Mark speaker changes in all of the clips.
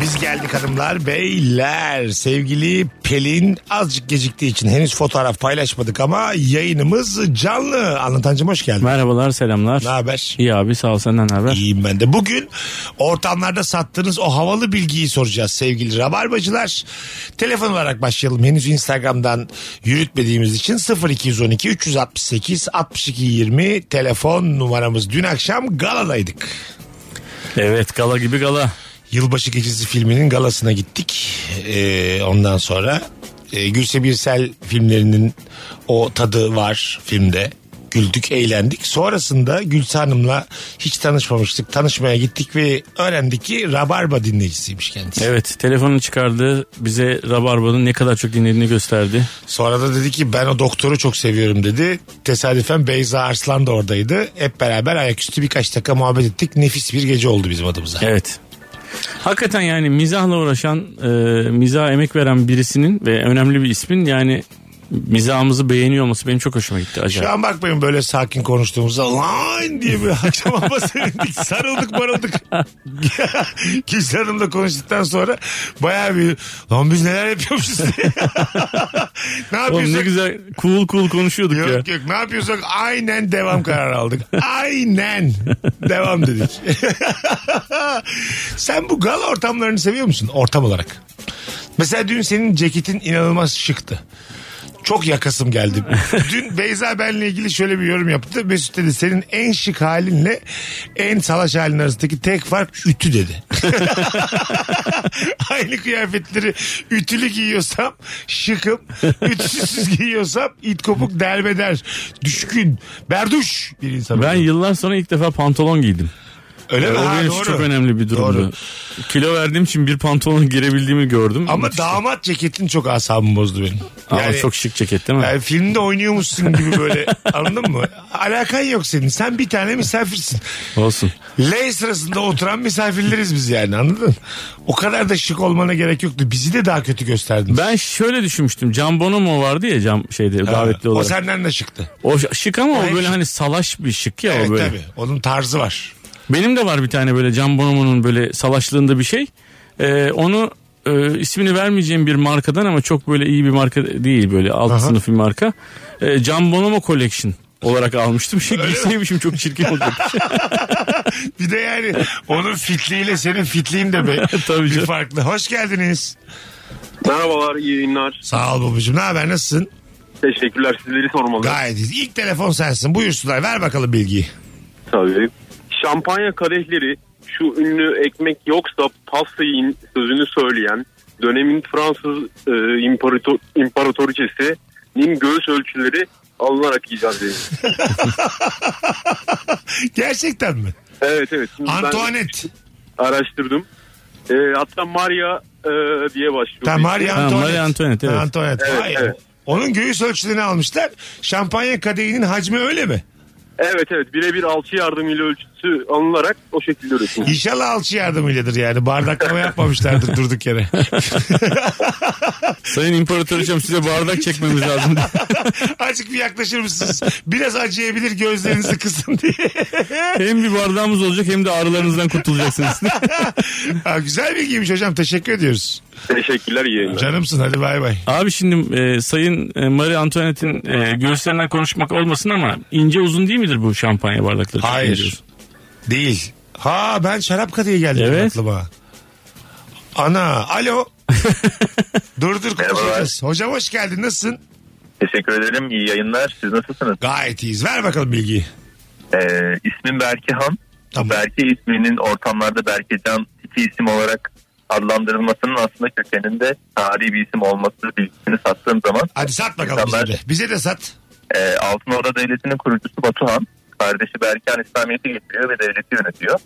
Speaker 1: Biz geldik hanımlar beyler. Sevgili Pelin azıcık geciktiği için henüz fotoğraf paylaşmadık ama yayınımız canlı. Anlatancım hoş geldin.
Speaker 2: Merhabalar, selamlar.
Speaker 1: Ne haber?
Speaker 2: İyi abi sağ ol senden ne haber?
Speaker 1: İyiyim ben de. Bugün ortamlarda sattığınız o havalı bilgiyi soracağız sevgili rabarbacılar. Telefon olarak başlayalım. Henüz Instagram'dan yürütmediğimiz için 0212 368 62 20 telefon numaramız. Dün akşam galadaydık.
Speaker 2: Evet gala gibi gala.
Speaker 1: Yılbaşı Gecesi filminin galasına gittik. Ee, ondan sonra e, Gülse Birsel filmlerinin o tadı var filmde. Güldük, eğlendik. Sonrasında Gülse Hanım'la hiç tanışmamıştık. Tanışmaya gittik ve öğrendik ki Rabarba dinleyicisiymiş kendisi.
Speaker 2: Evet telefonunu çıkardı bize Rabarba'nın ne kadar çok dinlediğini gösterdi.
Speaker 1: Sonra da dedi ki ben o doktoru çok seviyorum dedi. Tesadüfen Beyza Arslan da oradaydı. Hep beraber ayaküstü birkaç dakika muhabbet ettik. Nefis bir gece oldu bizim adımıza.
Speaker 2: Evet. Hakikaten yani mizahla uğraşan, e, mizaha emek veren birisinin ve önemli bir ismin yani mizahımızı beğeniyor olması benim çok hoşuma gitti
Speaker 1: Şu
Speaker 2: acayip.
Speaker 1: an bakmayın böyle sakin konuştuğumuzda lan diye bir akşam ama sevindik sarıldık barıldık. Gülse Hanım'la konuştuktan sonra bayağı bir lan biz neler yapıyormuşuz diye. ne
Speaker 2: Oğlum ne
Speaker 1: yapıyorsak
Speaker 2: güzel cool cool konuşuyorduk ya.
Speaker 1: Yok yok ne yapıyorsak aynen devam kararı aldık. Aynen devam dedik. Sen bu gala ortamlarını seviyor musun ortam olarak? Mesela dün senin ceketin inanılmaz şıktı. Çok yakasım geldi. Dün Beyza benle ilgili şöyle bir yorum yaptı. Mesut dedi senin en şık halinle en salaş halin arasındaki tek fark ütü dedi. Aynı kıyafetleri ütülü giyiyorsam şıkım, ütüsüz giyiyorsam it kopuk derbeder, düşkün, berduş bir insanım.
Speaker 2: Ben yıllar sonra ilk defa pantolon giydim.
Speaker 1: Öyle mi?
Speaker 2: o
Speaker 1: Ha,
Speaker 2: benim için
Speaker 1: doğru.
Speaker 2: çok önemli bir durumdu.
Speaker 1: Doğru.
Speaker 2: Kilo verdiğim için bir pantolon girebildiğimi gördüm.
Speaker 1: Ama damat ceketin çok asabımı bozdu benim.
Speaker 2: Ama
Speaker 1: Yani-
Speaker 2: çok şık ceket değil mi?
Speaker 1: Yani filmde oynuyormuşsun gibi böyle anladın mı? Alakan yok senin. Sen bir tane misafirsin.
Speaker 2: Olsun.
Speaker 1: L sırasında oturan misafirleriz biz yani anladın? O kadar da şık olmana gerek yoktu. Bizi de daha kötü gösterdin.
Speaker 2: Ben şöyle düşünmüştüm. Can Bonomo vardı ya cam şeyde davetli
Speaker 1: o
Speaker 2: olarak. O,
Speaker 1: senden de şıktı.
Speaker 2: ş- şık ama
Speaker 1: Hayır.
Speaker 2: o böyle hani salaş bir şık ya
Speaker 1: Evet
Speaker 2: o böyle.
Speaker 1: tabii. Onun tarzı var.
Speaker 2: Benim de var bir tane böyle Can Bonomo'nun böyle salaşlığında bir şey. Ee, onu e, ismini vermeyeceğim bir markadan ama çok böyle iyi bir marka değil böyle alt
Speaker 1: Aha.
Speaker 2: sınıf bir marka. Ee, Can Bonomo Collection olarak almıştım. Şey giyseymişim çok çirkin olacakmış.
Speaker 1: Bir de yani onun fitliğiyle senin fitliğin de be,
Speaker 2: Tabii
Speaker 1: bir
Speaker 2: canım.
Speaker 1: farklı. Hoş geldiniz.
Speaker 3: Merhabalar, iyi yayınlar.
Speaker 1: Sağ ol babacığım. Ne haber nasılsın?
Speaker 3: Teşekkürler, sizleri sormalı.
Speaker 1: Gayet iyi. İlk telefon sensin. Buyursunlar. Ver bakalım bilgiyi.
Speaker 3: Tabii. Şampanya kadehleri, şu ünlü ekmek yoksa pastayı in- sözünü söyleyen dönemin Fransız e, imparator, imparatoriçesinin göğüs ölçüleri alınarak icat edildi.
Speaker 1: Gerçekten mi?
Speaker 3: Evet evet. Şimdi ben
Speaker 1: Antoinette.
Speaker 3: araştırdım. E, hatta Maria e, diye başlıyor.
Speaker 1: Tamam Marie
Speaker 2: Ha, Marie
Speaker 1: Antoinette.
Speaker 2: Antoinette, evet.
Speaker 1: Ha, Antoinette.
Speaker 3: Evet,
Speaker 1: Vay.
Speaker 3: evet.
Speaker 1: Onun göğüs ölçülerini almışlar. Şampanya kadehinin hacmi öyle mi?
Speaker 3: Evet evet birebir alçı yardımıyla ölçüsü alınarak o şekilde üretildi.
Speaker 1: İnşallah alçı yardımıyladır yani. Bardaklama yapmamışlardır durduk yere.
Speaker 2: Sayın İmparatoriçem size bardak çekmemiz lazım.
Speaker 1: Azıcık bir yaklaşır mısınız? Biraz acıyabilir gözlerinizi kısın diye.
Speaker 2: hem bir bardağımız olacak hem de ağrılarınızdan kurtulacaksınız.
Speaker 1: ha, güzel bilgiymiş hocam. Teşekkür ediyoruz.
Speaker 3: Teşekkürler iyi yayınlar.
Speaker 1: Canımsın hadi bay bay.
Speaker 2: Abi şimdi e, Sayın e, Marie Antoinette'in e, göğüslerinden konuşmak olmasın ama ince uzun değil midir bu şampanya bardakları?
Speaker 1: Hayır. Değil. Ha ben şarap kadehi geldi
Speaker 2: Evet.
Speaker 1: aklıma. Ana alo. dur dur konuşacağız. Hocam hoş geldin nasılsın?
Speaker 4: Teşekkür ederim. İyi yayınlar. Siz nasılsınız?
Speaker 1: Gayet iyiyiz. Ver bakalım bilgiyi.
Speaker 4: Ee, ismim Berkehan.
Speaker 1: Tamam.
Speaker 4: Berke isminin ortamlarda Berkecan iki isim olarak adlandırılmasının aslında kökeninde tarihi bir isim olması bilgisini sattığım zaman
Speaker 1: Hadi sat bakalım bize
Speaker 4: İnsanlar-
Speaker 1: de. Bize de sat.
Speaker 4: e, Altın Orda Devleti'nin kurucusu Batuhan kardeşi Berkehan İslamiyet'i getiriyor ve devleti yönetiyor.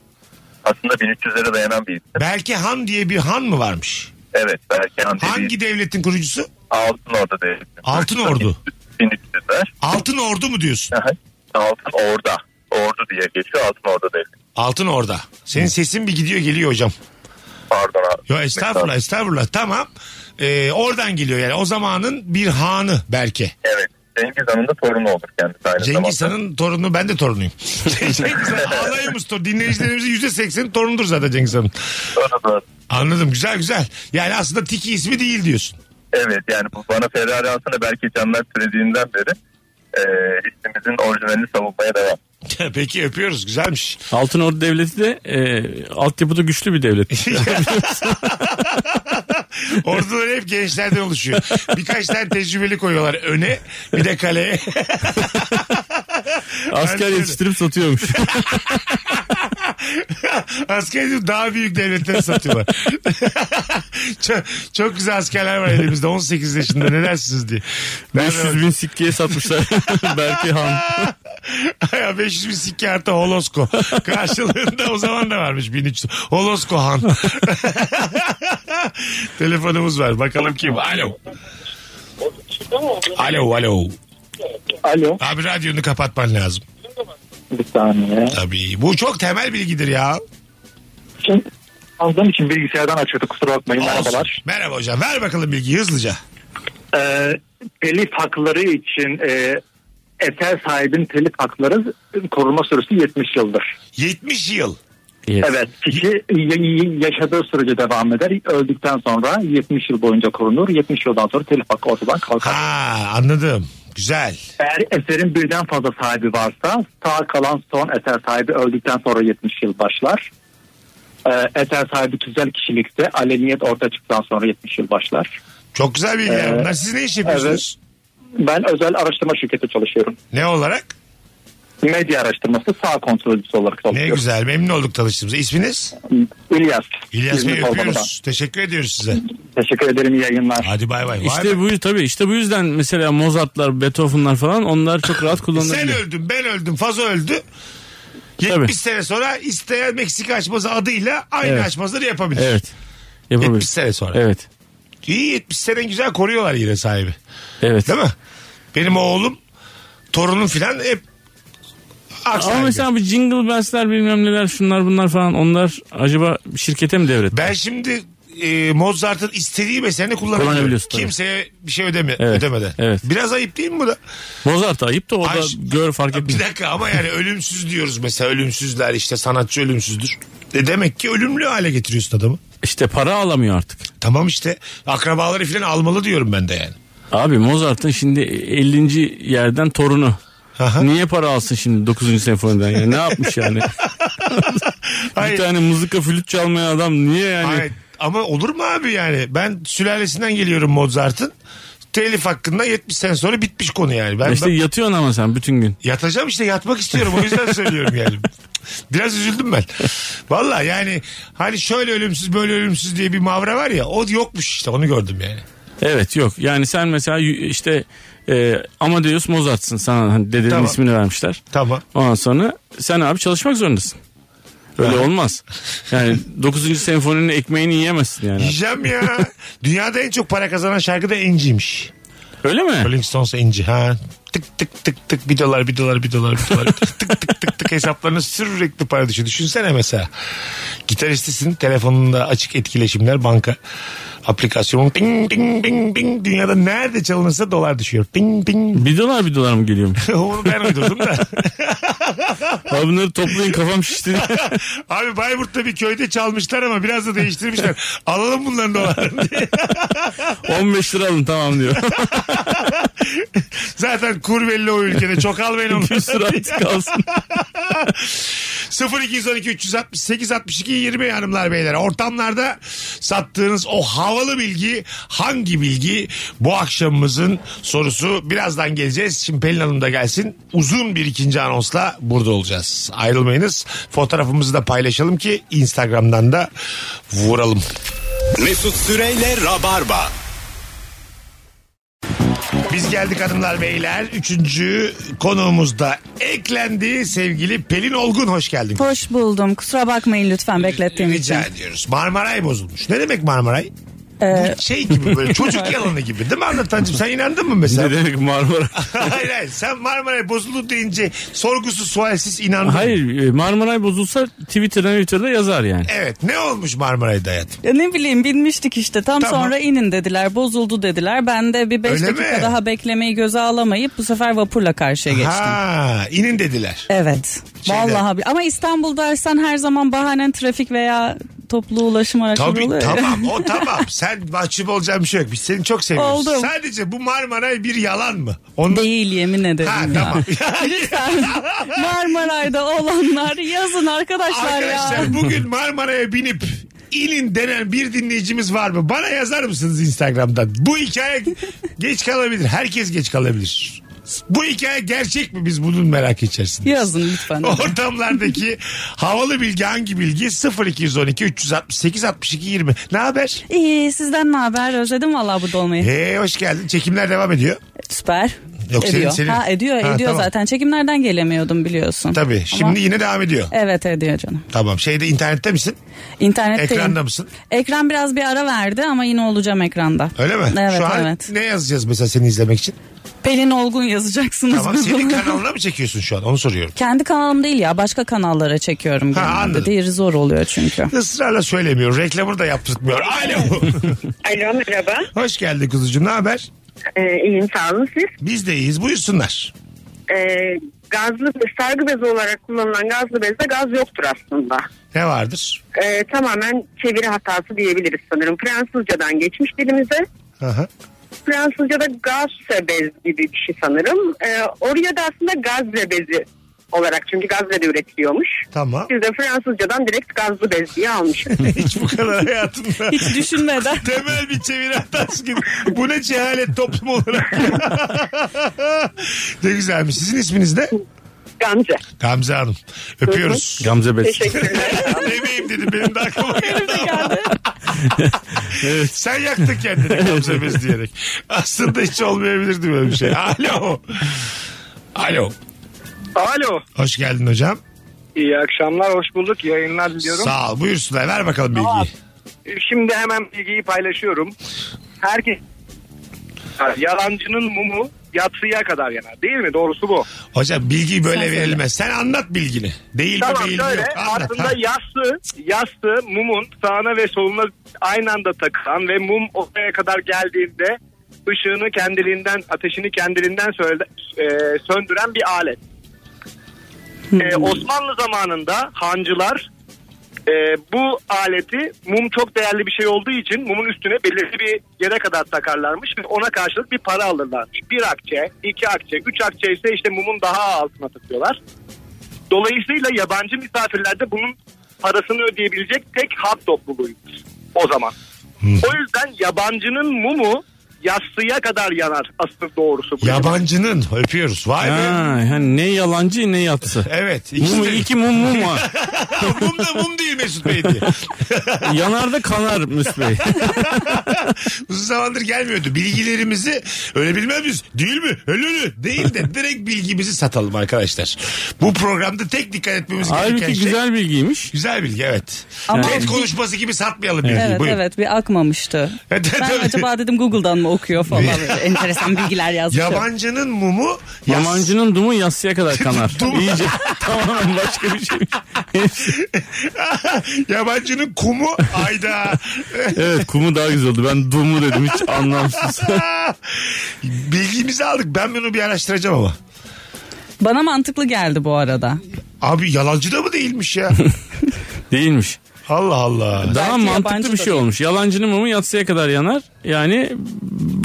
Speaker 4: Aslında 1300'lere dayanan bir isim.
Speaker 1: Belki Han diye bir han mı varmış?
Speaker 4: Evet Berkehan dediği
Speaker 1: Hangi devletin kurucusu?
Speaker 4: Altın Orda Devleti.
Speaker 1: Altın Ordu.
Speaker 4: 1300'ler.
Speaker 1: Altın Ordu mu diyorsun?
Speaker 4: Aha. Altın Orda. Ordu diye geçiyor Altın Orda Devleti.
Speaker 1: Altın Orda. Senin sesin bir gidiyor geliyor hocam.
Speaker 4: Pardon abi.
Speaker 1: Yo estağfurullah estağfurullah tamam. Ee, oradan geliyor yani o zamanın bir hanı Berke.
Speaker 4: Evet. Cengiz Han'ın da torunu olur kendisi aynı
Speaker 1: Cengiz
Speaker 4: zamanda.
Speaker 1: Han'ın torunu ben de torunuyum. Cengiz Han alayımız torunu. Dinleyicilerimizin yüzde sekseni torunudur zaten Cengiz Han'ın.
Speaker 4: Doğru, doğru.
Speaker 1: Anladım güzel güzel. Yani aslında Tiki ismi değil diyorsun.
Speaker 4: Evet yani bu bana Ferrari alsana belki canlar türediğinden beri e, ismimizin orijinalini savunmaya devam.
Speaker 1: Peki öpüyoruz güzelmiş.
Speaker 2: Altın Ordu Devleti de e, altyapıda güçlü bir devlet.
Speaker 1: Ordular hep gençlerden oluşuyor. Birkaç tane tecrübeli koyuyorlar öne bir de kaleye.
Speaker 2: Asker yetiştirip satıyormuş.
Speaker 1: Askeri daha büyük devletlere satıyorlar. çok, çok güzel askerler var elimizde 18 yaşında ne dersiniz diye. Nereden
Speaker 2: 500 bin sikkiye satmışlar. Berke Han.
Speaker 1: Ya 500 bin sikke artı Holosko. Karşılığında o zaman da varmış 1300. Holosko Han. Telefonumuz var. Bakalım kim? Alo. Alo alo.
Speaker 5: Alo.
Speaker 1: Abi radyonu kapatman lazım.
Speaker 5: Bir saniye.
Speaker 1: Tabii. Bu çok temel bilgidir ya.
Speaker 5: Şimdi Aldığım için bilgisayardan açıyordu kusura bakmayın.
Speaker 1: Olsun.
Speaker 5: Merhabalar.
Speaker 1: Merhaba hocam. Ver bakalım bilgiyi hızlıca.
Speaker 5: Ee, telif hakları için e, eser sahibinin telif hakları koruma süresi 70 yıldır.
Speaker 1: 70 yıl.
Speaker 5: Evet kişi y- y- yaşadığı sürece devam eder. Öldükten sonra 70 yıl boyunca korunur. 70 yıldan sonra telif hakkı ortadan kalkar.
Speaker 1: Ha anladım. Güzel.
Speaker 5: Eğer eserin birden fazla sahibi varsa sağ kalan son eser sahibi öldükten sonra 70 yıl başlar. Ee, eser sahibi tüzel kişilikte aleniyet ortaya çıktıktan sonra 70 yıl başlar.
Speaker 1: Çok güzel bilgiler
Speaker 5: Ee,
Speaker 1: bunlar. Siz ne iş yapıyorsunuz?
Speaker 5: Ben özel araştırma şirketi çalışıyorum.
Speaker 1: Ne olarak?
Speaker 5: Medya araştırması sağ kontrolcüsü olarak
Speaker 1: Ne
Speaker 5: çalışıyorum.
Speaker 1: güzel. Memnun olduk tanıştığımıza. İsminiz?
Speaker 5: İlyas.
Speaker 1: İlyas Bey
Speaker 5: İzmir Kolbaba'dan.
Speaker 1: öpüyoruz. Teşekkür ediyoruz size.
Speaker 5: Teşekkür ederim iyi yayınlar.
Speaker 1: Hadi bay bay. Vay be.
Speaker 2: İşte bu tabii işte bu yüzden mesela Mozart'lar, Beethoven'lar falan onlar çok rahat
Speaker 1: Sen
Speaker 2: kullanılabilir.
Speaker 1: öldün, ben öldüm, Fazo öldü. 70
Speaker 2: Tabii.
Speaker 1: sene sonra isteyen Meksika açması adıyla aynı
Speaker 2: Evet.
Speaker 1: açmazları yapabilir.
Speaker 2: Evet.
Speaker 1: 70
Speaker 2: Yapabilir.
Speaker 1: sene sonra.
Speaker 2: Evet.
Speaker 1: İyi 70 sene güzel koruyorlar yine sahibi.
Speaker 2: Evet.
Speaker 1: Değil mi? Benim oğlum, torunum filan hep hak
Speaker 2: Ama
Speaker 1: sahibi.
Speaker 2: mesela bu jingle bells'ler bilmem neler şunlar bunlar falan onlar acaba şirkete mi devret?
Speaker 1: Ben şimdi e, Mozart'ın istediği eserini kullanabiliyorum.
Speaker 2: Kullanabiliyorsun tabii.
Speaker 1: Kimseye bir şey ödeme,
Speaker 2: Evet,
Speaker 1: ödemeden.
Speaker 2: evet.
Speaker 1: Biraz ayıp değil mi bu da?
Speaker 2: Mozart ayıp da o
Speaker 1: Ay-
Speaker 2: da gör fark
Speaker 1: Bir
Speaker 2: etmiyor.
Speaker 1: dakika ama yani ölümsüz diyoruz mesela ölümsüzler işte sanatçı ölümsüzdür. E demek ki ölümlü hale getiriyorsun adamı.
Speaker 2: İşte para alamıyor artık.
Speaker 1: Tamam işte akrabaları filan almalı diyorum ben de yani.
Speaker 2: Abi Mozart'ın şimdi 50. yerden torunu.
Speaker 1: Aha.
Speaker 2: Niye para alsın şimdi 9. senfoniden yani ne yapmış yani?
Speaker 1: Hayır.
Speaker 2: bir tane mızıka flüt çalmayan adam niye yani?
Speaker 1: Hayır, ama olur mu abi yani? Ben sülalesinden geliyorum Mozart'ın. Telif hakkında 70 sene sonra bitmiş konu yani. Ben,
Speaker 2: İşte
Speaker 1: ben
Speaker 2: yatıyorsun ama sen bütün gün.
Speaker 1: yatacağım işte yatmak istiyorum o yüzden söylüyorum yani. Biraz üzüldüm ben. Valla yani hani şöyle ölümsüz böyle ölümsüz diye bir mavra var ya o yokmuş işte onu gördüm yani.
Speaker 2: Evet yok yani sen mesela y- işte e, Amadeus Mozart'sın sana hani dedenin
Speaker 1: Tamam.
Speaker 2: ismini vermişler.
Speaker 1: Tamam.
Speaker 2: Ondan sonra sen abi çalışmak zorundasın. Öyle olmaz. Yani 9. senfoninin ekmeğini yiyemezsin yani.
Speaker 1: Yiyeceğim ya. Dünyada en çok para kazanan şarkı da Enci'ymiş.
Speaker 2: Öyle mi?
Speaker 1: Rolling Stones Enci ha. Tık tık tık tık bir dolar bir dolar bir dolar bir dolar tık tık tık tık tık hesaplarına sürekli para düşüyor. Düşünsene mesela gitaristisin telefonunda açık etkileşimler banka aplikasyonu ding ding ding ding dünyada nerede çalınırsa dolar düşüyor. Ding ding
Speaker 2: Bir dolar bir dolar mı geliyormuş?
Speaker 1: onu ben uydurdum da.
Speaker 2: Abi bunları toplayın kafam şişti.
Speaker 1: Abi Bayburt'ta bir köyde çalmışlar ama biraz da değiştirmişler. Alalım bunların dolarını diye.
Speaker 2: 15 lira alın tamam diyor.
Speaker 1: Zaten kur belli o ülkede. Çok almayın onları.
Speaker 2: Bir sıra artık kalsın.
Speaker 1: 0212 368 62 20 hanımlar beyler. Ortamlarda sattığınız o havalı bilgi hangi bilgi? Bu akşamımızın sorusu birazdan geleceğiz. Şimdi Pelin Hanım da gelsin. Uzun bir ikinci anonsla burada olacağız. Ayrılmayınız. Fotoğrafımızı da paylaşalım ki Instagram'dan da vuralım.
Speaker 6: Mesut Süreyle Rabarba.
Speaker 1: Biz geldik hanımlar beyler. Üçüncü konuğumuz da eklendi. Sevgili Pelin Olgun hoş geldin.
Speaker 7: Hoş buldum. Kusura bakmayın lütfen beklettiğim için.
Speaker 1: Rica ediyoruz. Marmaray bozulmuş. Ne demek Marmaray?
Speaker 7: Ee,
Speaker 1: Bu şey gibi böyle çocuk yalanı gibi değil mi anlatancım? Sen inandın mı mesela?
Speaker 2: Ne demek Marmara?
Speaker 1: hayır hayır sen Marmara'ya bozuldu deyince sorgusuz sualsiz inandın.
Speaker 2: Hayır e, Marmaray bozulsa Twitter'da Twitter'da yazar yani.
Speaker 1: Evet ne olmuş Marmaray'da hayatım?
Speaker 7: Ya ne bileyim binmiştik işte tam
Speaker 1: Tamam.
Speaker 7: sonra inin dediler bozuldu dediler. Ben de bir 5
Speaker 1: Öyle
Speaker 7: dakika
Speaker 1: mi?
Speaker 7: daha beklemeyi göze alamayıp bu sefer vapurla karşıya geçtim.
Speaker 1: Ha inin dediler.
Speaker 7: Evet.
Speaker 1: Şeyden-
Speaker 7: Vallahi abi. ama İstanbul dersen her zaman bahanen trafik veya toplu ulaşım araçları
Speaker 1: Tabii
Speaker 7: oluyor.
Speaker 1: tamam o tamam. Sen mahcup olacağın bir şey yok. Biz seni çok seviyoruz.
Speaker 7: Oldum.
Speaker 1: Sadece bu Marmaray bir yalan mı? Onu...
Speaker 7: Değil yemin ederim
Speaker 1: Ha
Speaker 7: ya.
Speaker 1: tamam.
Speaker 7: Lütfen Marmaray'da olanlar yazın arkadaşlar, ya.
Speaker 1: Arkadaşlar bugün Marmara'ya binip inin denen bir dinleyicimiz var mı? Bana yazar mısınız Instagram'dan? Bu hikaye geç kalabilir. Herkes geç kalabilir. Bu hikaye gerçek mi? Biz bunun merak içerisindeyiz.
Speaker 7: Yazın lütfen.
Speaker 1: Oh. Ortamlardaki havalı bilgi hangi bilgi? 0212 368 62 20. Ne haber?
Speaker 7: İyi sizden ne haber? Özledim vallahi burada olmayı.
Speaker 1: Hey hoş geldin. Çekimler devam ediyor.
Speaker 7: Süper.
Speaker 1: Yok, senin-
Speaker 7: ediyor.
Speaker 1: senin.
Speaker 7: Ha ediyor,
Speaker 1: Ha,
Speaker 7: ediyor
Speaker 1: tamam.
Speaker 7: zaten. Çekimlerden gelemiyordum biliyorsun.
Speaker 1: Tabii.
Speaker 7: Ama-
Speaker 1: Şimdi yine devam ediyor.
Speaker 7: Evet ediyor canım.
Speaker 1: Tamam. Şeyde internette misin?
Speaker 7: İnternetteyim.
Speaker 1: Ekranda mısın?
Speaker 7: Ekran biraz bir ara verdi ama yine olacağım ekranda.
Speaker 1: Öyle mi?
Speaker 7: Evet
Speaker 1: Şu an
Speaker 7: evet.
Speaker 1: ne yazacağız mesela seni izlemek için?
Speaker 7: Pelin Olgun yazacaksınız.
Speaker 1: Tamam
Speaker 7: biz
Speaker 1: senin
Speaker 7: bunu.
Speaker 1: kanalına mı çekiyorsun şu an onu soruyorum.
Speaker 7: Kendi kanalım değil ya başka kanallara çekiyorum.
Speaker 1: Ha,
Speaker 7: genelde.
Speaker 1: anladım.
Speaker 7: Değeri zor oluyor çünkü.
Speaker 1: Israrla söylemiyor reklamını da yaptırtmıyor. Alo.
Speaker 8: Alo merhaba.
Speaker 1: Hoş geldin kuzucuğum ne haber?
Speaker 8: Ee, iyiyim sağ olun siz.
Speaker 1: Biz de iyiyiz buyursunlar.
Speaker 8: Ee, gazlı sargı bezi olarak kullanılan gazlı bezde gaz yoktur aslında.
Speaker 1: Ne vardır?
Speaker 8: Ee, tamamen çeviri hatası diyebiliriz sanırım. Fransızcadan geçmiş dilimize.
Speaker 1: Aha.
Speaker 8: Fransızca'da gazze bez gibi bir şey sanırım. Ee, oraya da aslında gazze bezi olarak çünkü gazze de üretiliyormuş.
Speaker 1: Tamam.
Speaker 8: Biz de Fransızcadan direkt gazlı bez diye almışız.
Speaker 1: Hiç bu kadar hayatımda.
Speaker 7: Hiç düşünmeden.
Speaker 1: Temel bir çeviri hatası gibi. Bu ne cehalet toplum olarak. ne güzelmiş. Sizin isminiz ne?
Speaker 8: Gamze.
Speaker 1: Gamze Hanım. Öpüyoruz.
Speaker 2: Gamze Bey.
Speaker 8: Teşekkürler.
Speaker 1: Bebeğim dedi benim de aklıma geldi. Sen yaktın kendini Gamze Bez diyerek. Aslında hiç olmayabilirdi böyle bir şey. Alo. Alo.
Speaker 9: Alo.
Speaker 1: Hoş geldin hocam.
Speaker 9: İyi akşamlar, hoş bulduk. Yayınlar diliyorum.
Speaker 1: Sağ ol. Buyursunlar. Ver bakalım bilgiyi.
Speaker 9: Şimdi hemen bilgiyi paylaşıyorum. Herkes yalancının mumu yatsıya kadar yanar. Değil mi? Doğrusu bu.
Speaker 1: Hocam bilgi böyle
Speaker 7: Sen söyle.
Speaker 1: verilmez. Sen anlat bilgini. Değil mi
Speaker 9: Tamam
Speaker 1: değil mi
Speaker 9: şöyle
Speaker 1: yok. Anlat.
Speaker 9: aslında
Speaker 1: ha.
Speaker 9: yassı, yassı mumun sağına ve soluna aynı anda takılan ve mum oraya kadar geldiğinde ışığını kendiliğinden, ateşini kendiliğinden söyle, e, söndüren bir alet. E, Osmanlı zamanında hancılar e, bu aleti mum çok değerli bir şey olduğu için mumun üstüne belirli bir yere kadar takarlarmış ve ona karşılık bir para alırlarmış. Bir akçe, iki akçe, üç akçe ise işte mumun daha altına takıyorlar. Dolayısıyla yabancı misafirlerde bunun parasını ödeyebilecek tek halk topluluğuyuz o zaman. O yüzden yabancının mumu yassıya kadar yanar asıl doğrusu. bu.
Speaker 1: Yabancının öpüyoruz. Vay be.
Speaker 2: Ha, yani ne yalancı ne yatsı.
Speaker 1: Evet.
Speaker 2: Mum,
Speaker 1: İkisi de,
Speaker 2: iki mum mum var.
Speaker 1: mum da mum değil Mesut Bey diye.
Speaker 2: Yanarda kanar Müs Bey.
Speaker 1: Uzun zamandır gelmiyordu. Bilgilerimizi öyle bilmez miyiz? Değil mi? Öyle öyle. Değil de direkt bilgimizi satalım arkadaşlar. Bu programda tek dikkat etmemiz gereken
Speaker 2: Halbuki
Speaker 1: şey. Güzel...
Speaker 2: güzel bilgiymiş.
Speaker 1: bilgi evet.
Speaker 7: Ama-
Speaker 1: TED konuşması gibi satmayalım bilgiyi.
Speaker 7: evet
Speaker 1: Buyurun.
Speaker 7: evet bir akmamıştı.
Speaker 1: Evet,
Speaker 7: ben
Speaker 1: tabii.
Speaker 7: acaba dedim Google'dan mı okuyor falan böyle enteresan bilgiler yazmış.
Speaker 1: Yabancının mumu yas-
Speaker 2: Yamancının dumu yassıya kadar kanar.
Speaker 1: Dum.
Speaker 2: İyice tamamen başka bir şey. Hepsi-
Speaker 1: Yabancının kumu ayda.
Speaker 2: evet kumu daha güzel oldu. Ben dumu dedim hiç anlamsız.
Speaker 1: Bilgimizi aldık. Ben bunu bir araştıracağım ama.
Speaker 7: Bana mantıklı geldi bu arada.
Speaker 1: Abi yalancı da mı değilmiş ya?
Speaker 2: Değilmiş.
Speaker 1: Allah Allah.
Speaker 2: Daha
Speaker 7: Belki yabancı
Speaker 2: mantıklı bir
Speaker 7: da
Speaker 2: şey
Speaker 7: değil.
Speaker 2: olmuş. Yalancının mumu yatsıya kadar yanar. Yani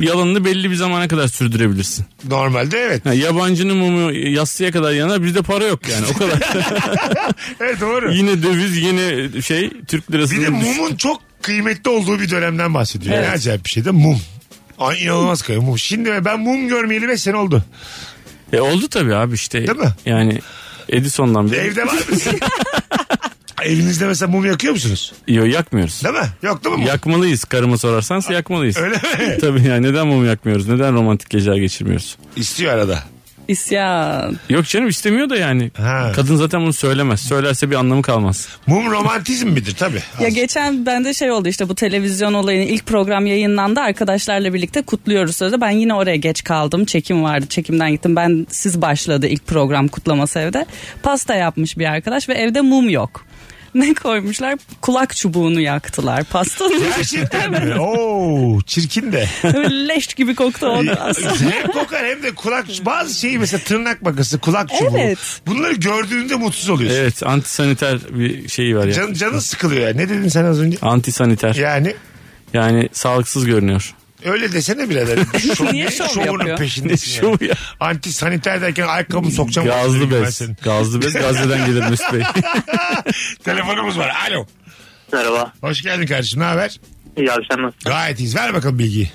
Speaker 2: yalanını belli bir zamana kadar sürdürebilirsin.
Speaker 1: Normalde evet.
Speaker 2: Ha, yabancının mumu yatsıya kadar yanar. Bizde para yok yani o kadar.
Speaker 1: Evet doğru.
Speaker 2: yine döviz yine şey Türk lirası.
Speaker 1: Bir şey. de mumun çok kıymetli olduğu bir dönemden bahsediyor. Ne acayip bir şey de mum. Ay inanılmaz kıyım mum. Şimdi ben mum görmeyeli 5 sene oldu.
Speaker 2: E, oldu tabii abi işte.
Speaker 1: Değil mi?
Speaker 2: Yani Edison'dan beri.
Speaker 1: Evde var mısın? Evinizde mesela mum yakıyor musunuz?
Speaker 2: Yok yakmıyoruz.
Speaker 1: Değil mi? Yok değil mi? mum?
Speaker 2: Yakmalıyız karıma sorarsan yakmalıyız.
Speaker 1: Öyle mi?
Speaker 2: Tabii ya neden mum yakmıyoruz? Neden romantik geceler geçirmiyoruz?
Speaker 1: İstiyor arada.
Speaker 7: İsyan.
Speaker 2: Yok canım istemiyor da yani.
Speaker 1: Ha.
Speaker 2: Kadın zaten bunu söylemez. Söylerse bir anlamı kalmaz.
Speaker 1: Mum romantizm midir tabii.
Speaker 7: Ya geçen bende şey oldu işte bu televizyon olayının ilk program yayınlandı. Arkadaşlarla birlikte kutluyoruz sözde. Ben yine oraya geç kaldım. Çekim vardı. Çekimden gittim. Ben siz başladı ilk program kutlaması evde. Pasta yapmış bir arkadaş ve evde mum yok. Ne koymuşlar? Kulak çubuğunu yaktılar pastanın.
Speaker 1: Gerçekten mi? Oo, çirkin de.
Speaker 7: Böyle Leş gibi koktu Ah, oldu aslında.
Speaker 1: hem kokar hem de kulak bazı şeyi mesela tırnak makası kulak çubuğu.
Speaker 7: Evet.
Speaker 1: Bunları gördüğünde mutsuz oluyorsun.
Speaker 2: Evet antisaniter bir şey var ya.
Speaker 1: Can, canın sıkılıyor yani. Ne dedin sen az önce?
Speaker 2: Antisaniter.
Speaker 1: Yani
Speaker 2: Yani sağlıksız görünüyor.
Speaker 1: öyle desene birader. Şov,
Speaker 7: Niye şov
Speaker 1: şovunun
Speaker 7: yapıyor?
Speaker 1: peşindesin
Speaker 2: Ne
Speaker 1: yani.
Speaker 2: şovu ya? Hmm,
Speaker 1: Anti saniter derken ayakkabımı sokacağım.
Speaker 2: Gazlı
Speaker 1: Ben
Speaker 2: bez.
Speaker 1: senin.
Speaker 2: Gazlı bez Gazze'den gelir Mesut Bey.
Speaker 1: Telefonumuz var. Alo.
Speaker 4: Merhaba.
Speaker 1: Hoş geldin kardeşim. Ne haber?
Speaker 4: İyi abi sen nasılsın?
Speaker 1: Gayet iyiyiz. Ver bakalım bilgiyi.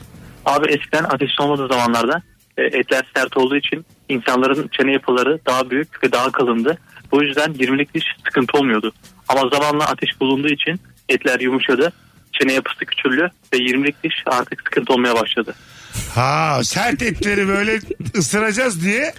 Speaker 4: Abi eskiden ateş olmadığı zamanlarda e, etler sert olduğu için insanların çene yapıları daha büyük ve daha kalındı. Bu yüzden 20'lik diş sıkıntı olmuyordu. Ama zamanla ateş bulunduğu için etler yumuşadı. Çene yapısı küçüldü ve 20'lik diş artık sıkıntı olmaya başladı.
Speaker 1: Ha sert etleri böyle ısıracağız diye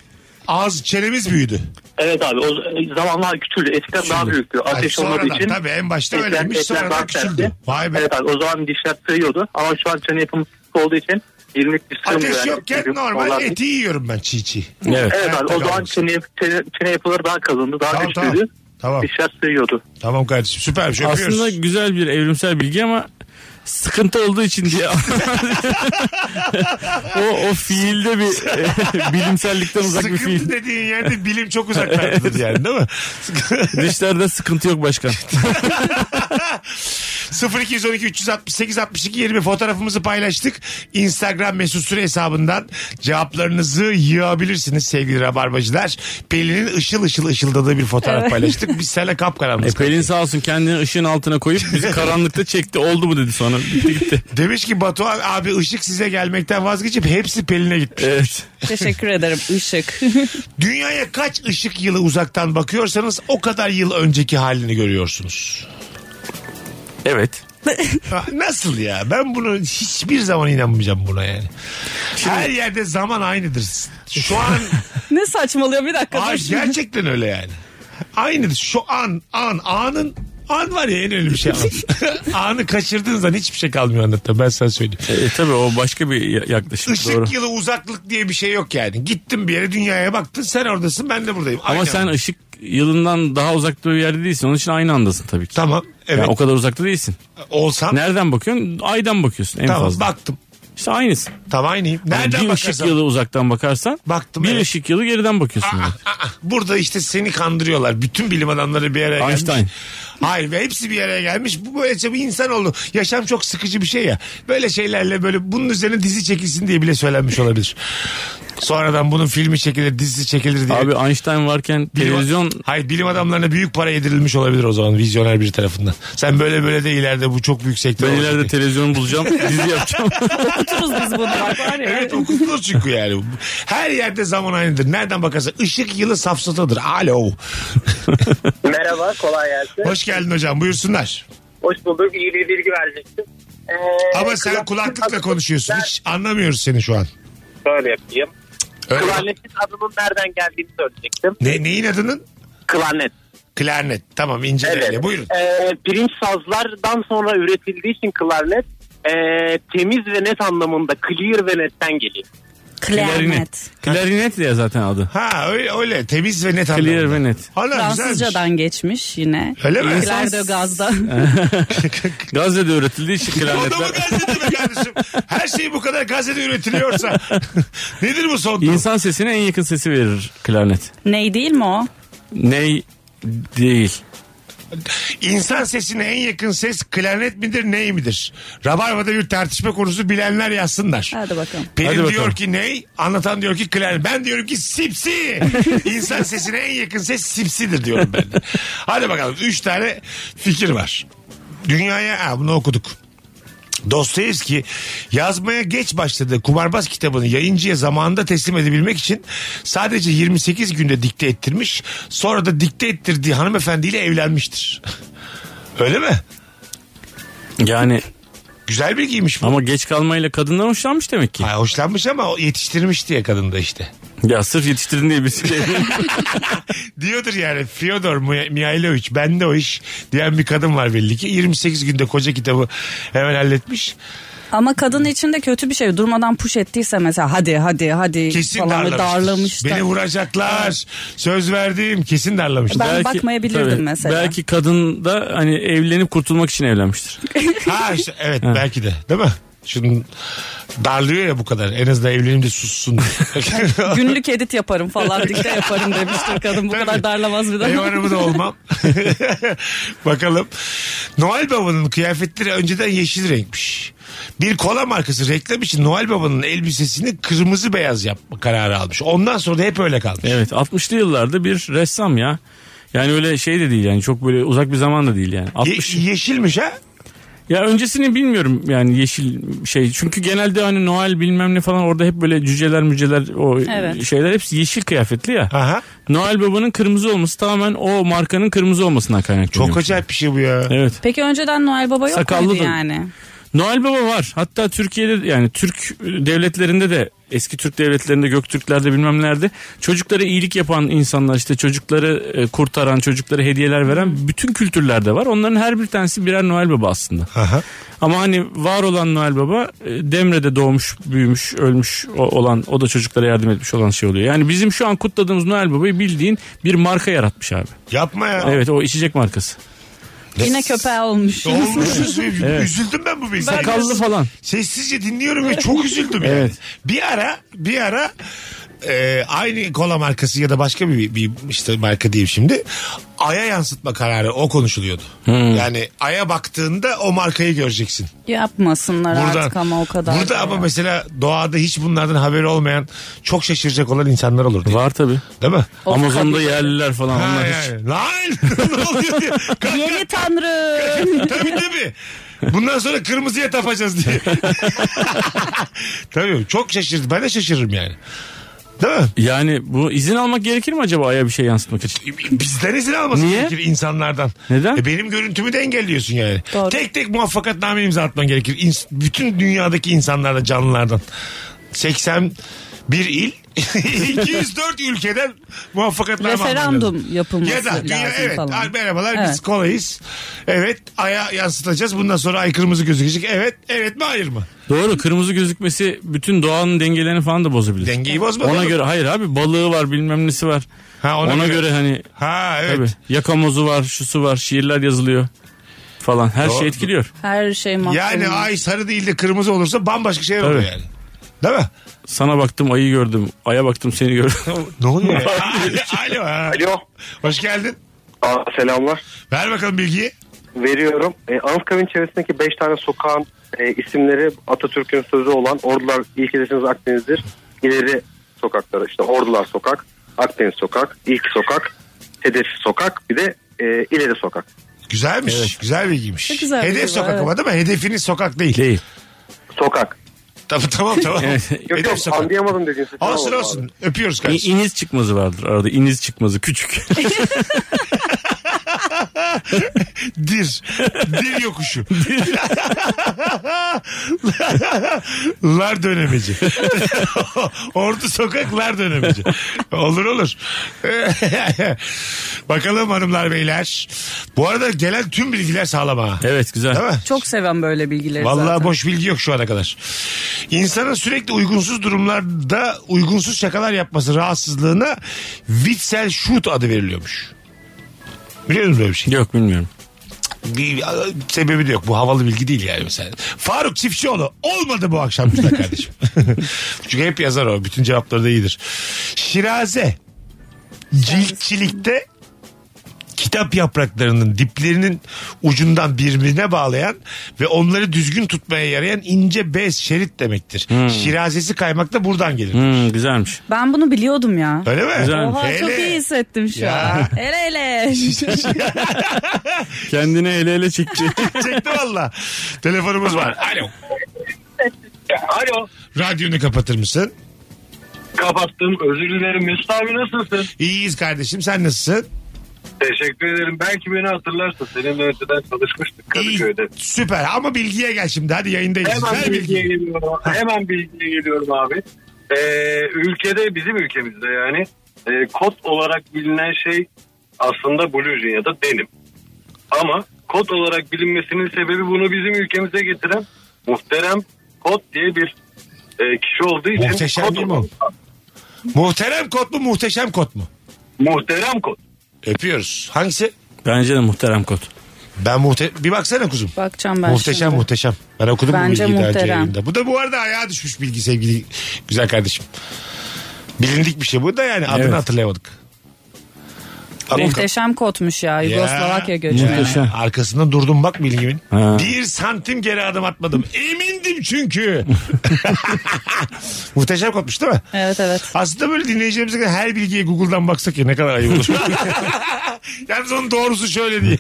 Speaker 1: ağız çenemiz büyüdü.
Speaker 4: Evet abi o zamanlar küçüldü. Eskiden daha büyüktü.
Speaker 1: Ay,
Speaker 4: Ateş olmadığı
Speaker 1: sonradan,
Speaker 4: için
Speaker 1: Tabii en başta
Speaker 4: etler,
Speaker 1: öyleymiş
Speaker 4: etler
Speaker 1: sonradan
Speaker 4: daha
Speaker 1: küçüldü.
Speaker 4: sertti.
Speaker 1: Vay be.
Speaker 4: Evet abi o zaman dişler sığıyordu ama şu an çene yapımı sıkı olduğu için 20'lik diş sığmıyor.
Speaker 1: Ateş
Speaker 4: yani.
Speaker 1: yokken
Speaker 4: Çünkü onlar-
Speaker 1: normal eti yiyorum ben çiğ çiğ.
Speaker 2: Evet.
Speaker 4: Evet abi
Speaker 1: Hayatta
Speaker 4: o zaman
Speaker 1: kalmış.
Speaker 4: çene, çene, çene yapıları daha kalındı, daha
Speaker 1: Tamam,
Speaker 4: güçlüydü.
Speaker 1: tamam. Tamam.
Speaker 4: Dişler sığıyordu.
Speaker 1: Tamam kardeşim süpermiş öpüyoruz.
Speaker 2: Aslında güzel bir evrimsel bilgi ama sıkıntı olduğu için diye o, o fiilde bir e, bilimsellikten uzak bir
Speaker 1: Sıkıntı
Speaker 2: fiil.
Speaker 1: dediğin yerde bilim çok uzaklaştınız yani değil mi?
Speaker 2: Dişlerde sıkıntı yok başkan.
Speaker 1: 0212 368 62 20 fotoğrafımızı paylaştık. Instagram mesut süre hesabından cevaplarınızı yığabilirsiniz sevgili rabarbacılar. Pelin'in ışıl ışıl ışıldadığı bir fotoğraf paylaştık. Biz seninle
Speaker 2: E,
Speaker 1: kapkaranlık.
Speaker 2: Pelin sağ olsun kendini ışığın altına koyup bizi karanlıkta çekti. Oldu mu dedi sonra. Bitti gitti.
Speaker 1: Demiş ki Batuhan abi ışık size gelmekten vazgeçip hepsi Pelin'e gitmiş.
Speaker 2: Evet.
Speaker 7: Teşekkür ederim Işık.
Speaker 1: Dünyaya kaç ışık yılı uzaktan bakıyorsanız o kadar yıl önceki halini görüyorsunuz.
Speaker 2: Evet.
Speaker 1: Ha, Nasıl ya? Ben bunu hiçbir zaman inanmayacağım buna yani. Her yerde zaman aynıdır. Şu an
Speaker 7: ne saçmalıyor bir dakika.
Speaker 1: Ay,
Speaker 7: dur.
Speaker 1: gerçekten öyle yani. Aynıdır. Şu an, an, anın An var ya en önemli şey an. Anı kaçırdığın zaman hiçbir şey kalmıyor anlatta ben sana söyleyeyim.
Speaker 2: E, tabii o başka bir ya- yaklaşım.
Speaker 1: Işık
Speaker 2: Doğru.
Speaker 1: yılı uzaklık diye bir şey yok yani. Gittim bir yere dünyaya baktın sen oradasın ben de buradayım.
Speaker 2: Ama
Speaker 1: Aynı
Speaker 2: sen
Speaker 1: anda.
Speaker 2: ışık yılından daha uzakta bir yerde değilsin. Onun için aynı andasın tabii ki.
Speaker 1: Tamam evet
Speaker 2: Yani o kadar uzakta değilsin.
Speaker 1: olsam
Speaker 2: Nereden bakıyorsun? Aydan bakıyorsun en
Speaker 1: tamam
Speaker 2: fazla.
Speaker 1: baktım.
Speaker 2: İşte aynısın.
Speaker 1: Tamam aynıyım.
Speaker 2: Yani
Speaker 1: Nereden
Speaker 2: bir ışık
Speaker 1: bakarsam.
Speaker 2: yılı uzaktan bakarsan
Speaker 1: Baktım,
Speaker 2: bir
Speaker 1: evet.
Speaker 2: ışık yılı geriden bakıyorsun.
Speaker 1: Aa,
Speaker 2: yani.
Speaker 1: aa, Burada işte seni kandırıyorlar. Bütün bilim adamları bir araya
Speaker 2: Einstein.
Speaker 1: gelmiş. Hayır ve hepsi bir araya gelmiş. Bu böylece bir insanoğlu. Yaşam çok sıkıcı bir şey ya. Böyle şeylerle böyle bunun üzerine dizi çekilsin diye bile söylenmiş olabilir. Sonradan bunun filmi çekilir, dizisi çekilir diye.
Speaker 2: Abi Einstein varken
Speaker 1: Bilim-
Speaker 2: televizyon
Speaker 1: Hayır bilim adamlarına büyük para yedirilmiş olabilir o zaman vizyoner bir tarafından. Sen böyle böyle de ileride bu çok büyük sektör
Speaker 2: ben
Speaker 1: olacak diye.
Speaker 2: ileride televizyonu bulacağım dizi yapacağım.
Speaker 7: Oturuz biz bunu. bak var ya.
Speaker 1: Evet okusunuz çünkü yani. Her yerde zaman aynıdır. Nereden bakarsan ışık yılı safsatadır. Alo.
Speaker 10: Merhaba kolay gelsin.
Speaker 1: Hoş geldin hocam buyursunlar.
Speaker 10: Hoş bulduk. İyi bir bilgi verecektim. Ee,
Speaker 1: Ama sen
Speaker 10: kulaklık-
Speaker 1: kulaklıkla konuşuyorsun. Hiç anlamıyoruz seni şu an.
Speaker 10: Böyle yapayım.
Speaker 1: Öyle.
Speaker 10: Klarnetin adının nereden geldiğini söyleyecektim.
Speaker 1: Ne, neyin adının?
Speaker 10: Klarnet.
Speaker 1: Klarnet. Tamam inceleyle. Buyurun.
Speaker 10: Ee, pirinç sazlardan sonra üretildiği için klarnet e, temiz ve net anlamında clear ve netten geliyor.
Speaker 7: Klarnet.
Speaker 2: Klarinet diye zaten adı.
Speaker 1: Ha öyle öyle temiz ve net anlamında.
Speaker 2: Clear ve net.
Speaker 1: Ana, güzelmiş.
Speaker 7: Fransızcadan geçmiş yine.
Speaker 1: Öyle mi?
Speaker 7: Klardo gazda.
Speaker 2: Gazze'de üretildiği için
Speaker 1: O da mı
Speaker 2: klarnetler.
Speaker 1: gazete be kardeşim? Her şey bu kadar gazete üretiliyorsa. Nedir bu son durum?
Speaker 2: İnsan sesine en yakın sesi verir klarnet.
Speaker 7: Ney değil mi o?
Speaker 2: Ney değil.
Speaker 1: İnsan sesine en yakın ses klarnet midir ney midir? Rabarba'da bir tartışma konusu bilenler yazsınlar.
Speaker 7: Hadi bakalım.
Speaker 2: Hadi
Speaker 1: Pelin
Speaker 2: bakalım.
Speaker 1: diyor ki ney? Anlatan diyor ki klarnet. Ben diyorum ki sipsi. İnsan sesine en yakın ses sipsidir diyorum ben de. Hadi bakalım. Üç tane fikir var. Dünyaya ha, bunu okuduk. Dostoyevski yazmaya geç başladığı Kumarbaz kitabını yayıncıya zamanında teslim edebilmek için sadece 28 günde dikte ettirmiş. Sonra da dikte ettirdiği hanımefendiyle evlenmiştir. Öyle mi?
Speaker 2: Yani
Speaker 1: Güzel bilgiymiş bu.
Speaker 2: ama geç kalmayla kadından hoşlanmış demek ki.
Speaker 1: Ay, hoşlanmış ama o yetiştirmiş diye kadın da işte.
Speaker 2: Ya sırf yetiştirdin diye bir şey.
Speaker 1: Diyordur yani Fyodor Mi- Mihailovic bende o iş diyen bir kadın var belli ki. 28 günde koca kitabı hemen halletmiş.
Speaker 7: Ama kadın için de kötü bir şey. Durmadan push ettiyse mesela hadi hadi hadi
Speaker 1: Kesin
Speaker 7: falan
Speaker 1: darlamış.
Speaker 7: ve darlamış. da.
Speaker 1: Beni vuracaklar. Söz verdim. Kesin darlamıştır.
Speaker 7: Ben bakmayabilirdim
Speaker 2: tabii,
Speaker 7: mesela.
Speaker 2: Belki kadın da hani evlenip kurtulmak için evlenmiştir.
Speaker 1: Ha işte evet belki de değil mi? Şunun darlıyor ya bu kadar. En azından evlenim de sussun.
Speaker 7: Günlük edit yaparım falan dikte yaparım demiştir kadın. Bu kadar darlamaz bir de.
Speaker 1: Ev hanımı da olmam. Bakalım. Noel Baba'nın kıyafetleri önceden yeşil renkmiş. Bir kola markası reklam için Noel Baba'nın elbisesini kırmızı beyaz yapma kararı almış. Ondan sonra da hep öyle kalmış.
Speaker 2: Evet 60'lı yıllarda bir ressam ya. Yani öyle şey de değil yani çok böyle uzak bir zaman da değil yani. 60
Speaker 1: Ye- yeşilmiş ha?
Speaker 2: Ya öncesini bilmiyorum yani yeşil şey. Çünkü genelde hani Noel bilmem ne falan orada hep böyle cüceler müceler o
Speaker 7: Evet.
Speaker 2: şeyler hepsi yeşil kıyafetli ya.
Speaker 1: Aha.
Speaker 2: Noel Baba'nın kırmızı olması tamamen o markanın kırmızı olmasından kaynaklanıyor.
Speaker 1: Çok acayip bir şey bu ya.
Speaker 2: Evet.
Speaker 7: Peki önceden Noel Baba yok
Speaker 2: Sakallı
Speaker 7: muydu
Speaker 2: da-
Speaker 7: yani?
Speaker 2: Noel Baba var. Hatta Türkiye'de yani Türk devletlerinde de eski Türk devletlerinde Göktürklerde bilmem nerede çocuklara iyilik yapan insanlar işte çocukları e, kurtaran çocuklara hediyeler veren bütün kültürlerde var. Onların her bir tanesi birer Noel Baba aslında.
Speaker 1: Aha.
Speaker 2: Ama hani var olan Noel Baba e, Demre'de doğmuş, büyümüş, ölmüş o- olan o da çocuklara yardım etmiş olan şey oluyor. Yani bizim şu an kutladığımız Noel Baba'yı bildiğin bir marka yaratmış abi.
Speaker 1: Yapma ya.
Speaker 2: Evet o içecek markası.
Speaker 7: Yine köpeği olmuş.
Speaker 1: Olmuşuz.
Speaker 2: Evet.
Speaker 1: Üzüldüm ben bu bilgiye.
Speaker 2: Sakallı falan.
Speaker 1: Sessizce dinliyorum ve çok üzüldüm yani.
Speaker 2: Evet.
Speaker 1: Bir ara bir ara e, aynı kola markası ya da başka bir, bir işte marka diyeyim şimdi. Aya yansıtma kararı o konuşuluyordu.
Speaker 2: Hmm.
Speaker 1: Yani aya baktığında o markayı göreceksin.
Speaker 7: Yapmasınlar artık ama o kadar.
Speaker 1: Burada
Speaker 7: da
Speaker 1: ama
Speaker 7: ya.
Speaker 1: mesela doğada hiç bunlardan haberi olmayan çok şaşıracak olan insanlar olur diye.
Speaker 2: Var tabii.
Speaker 1: Değil mi?
Speaker 2: Amazon'da yerliler falan
Speaker 1: Ha,
Speaker 2: onlar hiç.
Speaker 1: yani. Lan ne oluyor diye. Kalk,
Speaker 7: Yeni tanrı.
Speaker 1: tabii tabii. Bundan sonra kırmızıya tapacağız diye. tabii çok şaşırdım. Ben de şaşırırım yani. Değil mi?
Speaker 2: Yani bu izin almak gerekir mi acaba aya bir şey yansıtmak için?
Speaker 1: E, Bizden izin almasın
Speaker 2: Niye?
Speaker 1: gerekir insanlardan.
Speaker 2: Neden?
Speaker 1: E benim görüntümü de engelliyorsun yani.
Speaker 7: Doğru.
Speaker 1: Tek tek muvaffakatname imza atman gerekir. İns- bütün dünyadaki insanlardan, canlılardan. 81 il, 204 ülkeden muvaffakatname alman lazım.
Speaker 7: Referandum yapılması
Speaker 1: Ya da dünya,
Speaker 7: lazım
Speaker 1: evet
Speaker 7: falan.
Speaker 1: "Ay, merhabalar biz
Speaker 7: Evet.
Speaker 1: kolayız. Evet aya yansıtacağız. Bundan sonra ay kırmızı gözükecek. Evet evet mi hayır mı?
Speaker 2: Doğru kırmızı gözükmesi bütün doğanın dengelerini falan da bozabilir.
Speaker 1: Dengeyi bozma.
Speaker 2: ona
Speaker 1: oğlum.
Speaker 2: göre hayır abi balığı var bilmem nesi var.
Speaker 1: Ha,
Speaker 2: Ona, göre, hani
Speaker 1: Ha evet.
Speaker 2: tabii, yakamozu var şusu var şiirler yazılıyor falan her
Speaker 1: Doğru.
Speaker 2: şey etkiliyor.
Speaker 7: Her şey mahvolmuş.
Speaker 1: Yani ay sarı değil de kırmızı olursa bambaşka şey oluyor
Speaker 2: Tabii.
Speaker 1: yani. Değil mi?
Speaker 2: Sana baktım ayı gördüm aya baktım seni gördüm.
Speaker 1: Ne oluyor? ya? Alo. ha.
Speaker 10: Alo.
Speaker 1: Hoş geldin.
Speaker 10: Aa, selamlar.
Speaker 1: Ver bakalım bilgiyi.
Speaker 10: Veriyorum. E, Anıtkabir'in çevresindeki 5 tane sokağın e, isimleri Atatürk'ün sözü olan Ordular ilk ilesiniz Akdeniz'dir. İleri sokakları işte Ordular Sokak, Akdeniz Sokak, İlk Sokak, Hedef Sokak bir de e, İleri Sokak.
Speaker 1: Güzelmiş. Güzel bilgiymiş.
Speaker 7: Çok güzel
Speaker 1: Hedef
Speaker 7: bilgi var,
Speaker 1: sokak
Speaker 7: evet.
Speaker 1: ama değil mi? Hedefiniz sokak değil.
Speaker 2: Değil.
Speaker 10: Sokak.
Speaker 1: Tamam tamam tamam.
Speaker 10: Yok
Speaker 1: Hedef
Speaker 10: yok
Speaker 1: sokak.
Speaker 10: anlayamadım dediğin sesi.
Speaker 1: Olsun
Speaker 10: Tamam abi.
Speaker 1: olsun. Öpüyoruz
Speaker 2: İ-
Speaker 1: kardeşim.
Speaker 2: iniz çıkmazı vardır arada iniz çıkmazı küçük.
Speaker 1: Dir. Dir yokuşu. lar dönemeci. Ordu sokak lar dönemeci. Olur olur. Bakalım hanımlar beyler. Bu arada gelen tüm bilgiler sağlam ha.
Speaker 2: evet güzel.
Speaker 1: Değil mi?
Speaker 7: Çok seven böyle bilgileri
Speaker 1: Vallahi
Speaker 7: zaten.
Speaker 1: boş bilgi yok şu ana kadar. İnsanın sürekli uygunsuz durumlarda uygunsuz şakalar yapması rahatsızlığına Witzel shoot adı veriliyormuş. Biliyor musun böyle bir şey?
Speaker 2: Yok bilmiyorum.
Speaker 1: Bir, sebebi de yok. Bu havalı bilgi değil yani mesela. Faruk Çiftçioğlu olmadı bu akşam güzel kardeşim. Çünkü hep yazar o. Bütün cevapları da iyidir. Şiraze. Ciltçilikte kitap yapraklarının diplerinin ucundan birbirine bağlayan ve onları düzgün tutmaya yarayan ince bez şerit demektir. Şirazesi kaymak da buradan gelir.
Speaker 2: Hmm, güzelmiş.
Speaker 7: Ben bunu biliyordum ya.
Speaker 1: Öyle mi?
Speaker 2: Güzelmiş.
Speaker 7: Oha çok
Speaker 1: Hele.
Speaker 7: iyi hissettim şu
Speaker 1: Ya.
Speaker 7: an. Ele ele.
Speaker 2: Kendini ele ele çekti.
Speaker 1: Çekti valla. Telefonumuz var. Alo.
Speaker 9: Alo.
Speaker 1: Radyonu kapatır mısın?
Speaker 9: Kapattım. Özür dilerim. Mesut abi nasılsın?
Speaker 1: İyiyiz kardeşim. Sen nasılsın?
Speaker 9: Teşekkür ederim. Belki beni hatırlarsın. Seninle önceden çalışmıştık
Speaker 1: İyi,
Speaker 9: Kadıköy'de.
Speaker 1: süper ama bilgiye gel şimdi hadi yayındayız.
Speaker 9: Hemen
Speaker 1: Ver
Speaker 9: bilgiye
Speaker 1: bilgiyi.
Speaker 9: geliyorum. Hemen bilgiye geliyorum abi.
Speaker 11: e, ülkede bizim ülkemizde yani e, kod olarak bilinen şey aslında blue jean ya da denim. Ama kod olarak bilinmesinin sebebi bunu bizim ülkemize getiren muhterem kod diye bir e, kişi olduğu için
Speaker 1: Muhteşem
Speaker 11: kod
Speaker 1: değil mi o? Muhterem kot mu muhteşem kot mu?
Speaker 11: Muhterem kot.
Speaker 1: Öpüyoruz. Hangisi?
Speaker 2: Bence de muhterem kot.
Speaker 1: Ben muhte bir baksana kuzum.
Speaker 7: Bakacağım ben
Speaker 1: muhteşem
Speaker 7: şimdi.
Speaker 1: muhteşem. Ben okudum
Speaker 7: Bence
Speaker 1: bu bilgiyi daha önce
Speaker 7: muhterem.
Speaker 1: yayında. Bu da bu arada ayağa düşmüş bilgi sevgili güzel kardeşim. Bilindik bir şey bu da yani adını
Speaker 7: Evet.
Speaker 1: hatırlayamadık. Ama-
Speaker 7: Muhteşem kotmuş ya
Speaker 1: Ya,
Speaker 7: Yugoslavakya göçmeni.
Speaker 1: ya. Arkasında durdum bak bilgimin. Bir santim geri adım atmadım. Emindim çünkü. Muhteşem kopmuş değil mi?
Speaker 7: Evet evet.
Speaker 1: Aslında böyle dinleyicilerimize her bilgiye Google'dan baksak ya ne kadar ayıp olur. Yalnız onun doğrusu şöyle diye.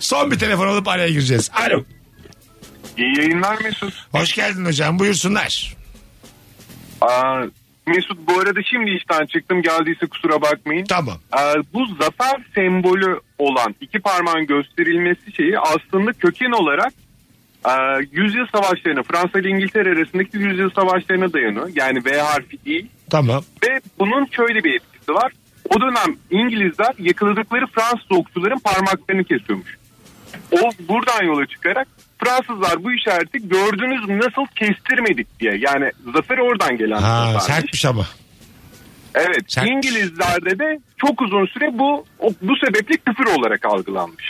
Speaker 1: Son bir telefon alıp araya gireceğiz. Alo.
Speaker 12: İyi yayınlar Mesut.
Speaker 1: Hoş geldin hocam buyursunlar.
Speaker 12: Aa, Mesut bu arada şimdi işten çıktım geldiyse kusura bakmayın.
Speaker 1: Tamam.
Speaker 12: Aa, Ee, bu zafer sembolü olan iki parmağın gösterilmesi şeyi aslında köken olarak aa, yüzyıl savaşlarına Fransa ile İngiltere arasındaki yüzyıl savaşlarına dayanıyor. Yani V harfi değil.
Speaker 1: Tamam.
Speaker 12: Ve bunun şöyle bir etkisi var. O dönem İngilizler yakaladıkları Fransız okçuların parmaklarını kesiyormuş. O buradan yola çıkarak Fransızlar bu işareti gördünüz mü nasıl kestirmedik diye. Yani zafer oradan gelen.
Speaker 1: Ha,
Speaker 12: zafer.
Speaker 1: sertmiş ama.
Speaker 12: Evet İngilizlerde de çok uzun süre bu o- bu sebeple küfür olarak algılanmış.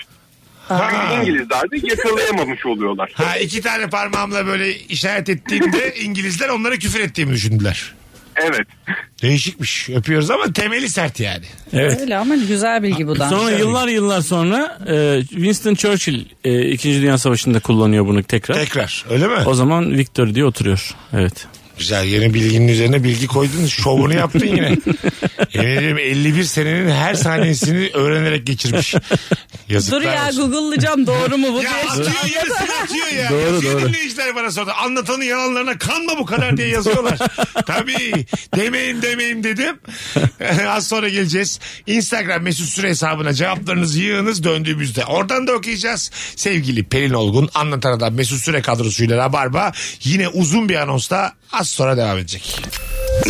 Speaker 12: Çünkü İngilizler de yakalayamamış oluyorlar.
Speaker 1: Ha iki tane parmağımla böyle işaret ettiğimde İngilizler onlara küfür ettiğimi düşündüler.
Speaker 12: Evet.
Speaker 1: Değişikmiş. Öpüyoruz ama temeli sert yani.
Speaker 7: Öyle ama güzel bilgi bu da.
Speaker 2: Sonra yıllar yıllar sonra e, Winston Churchill e, İkinci Dünya Savaşı'nda kullanıyor bunu tekrar.
Speaker 1: Tekrar öyle mi?
Speaker 2: O zaman Victor diye oturuyor. Evet.
Speaker 1: Güzel yeni bilginin üzerine bilgi koydun şovunu yaptın yine. Yemin ediyorum 51 senenin her saniyesini öğrenerek geçirmiş. Yazıklar
Speaker 7: Dur ya
Speaker 1: olsun.
Speaker 7: Google'layacağım doğru mu bu
Speaker 1: Ya
Speaker 7: diye.
Speaker 1: atıyor yarısını atıyor ya.
Speaker 7: Doğru,
Speaker 1: yazıyor
Speaker 7: doğru.
Speaker 1: dinleyiciler bana sonra. Anlatanın yalanlarına kanma bu kadar diye yazıyorlar. Tabii. Demeyin demeyim dedim. Az sonra geleceğiz. Instagram mesut süre hesabına cevaplarınızı yığınız döndüğümüzde. Oradan da okuyacağız. Sevgili Pelin Olgun anlatan adam mesut süre kadrosuyla Rabarba yine uzun bir anonsla az sonra devam edecek.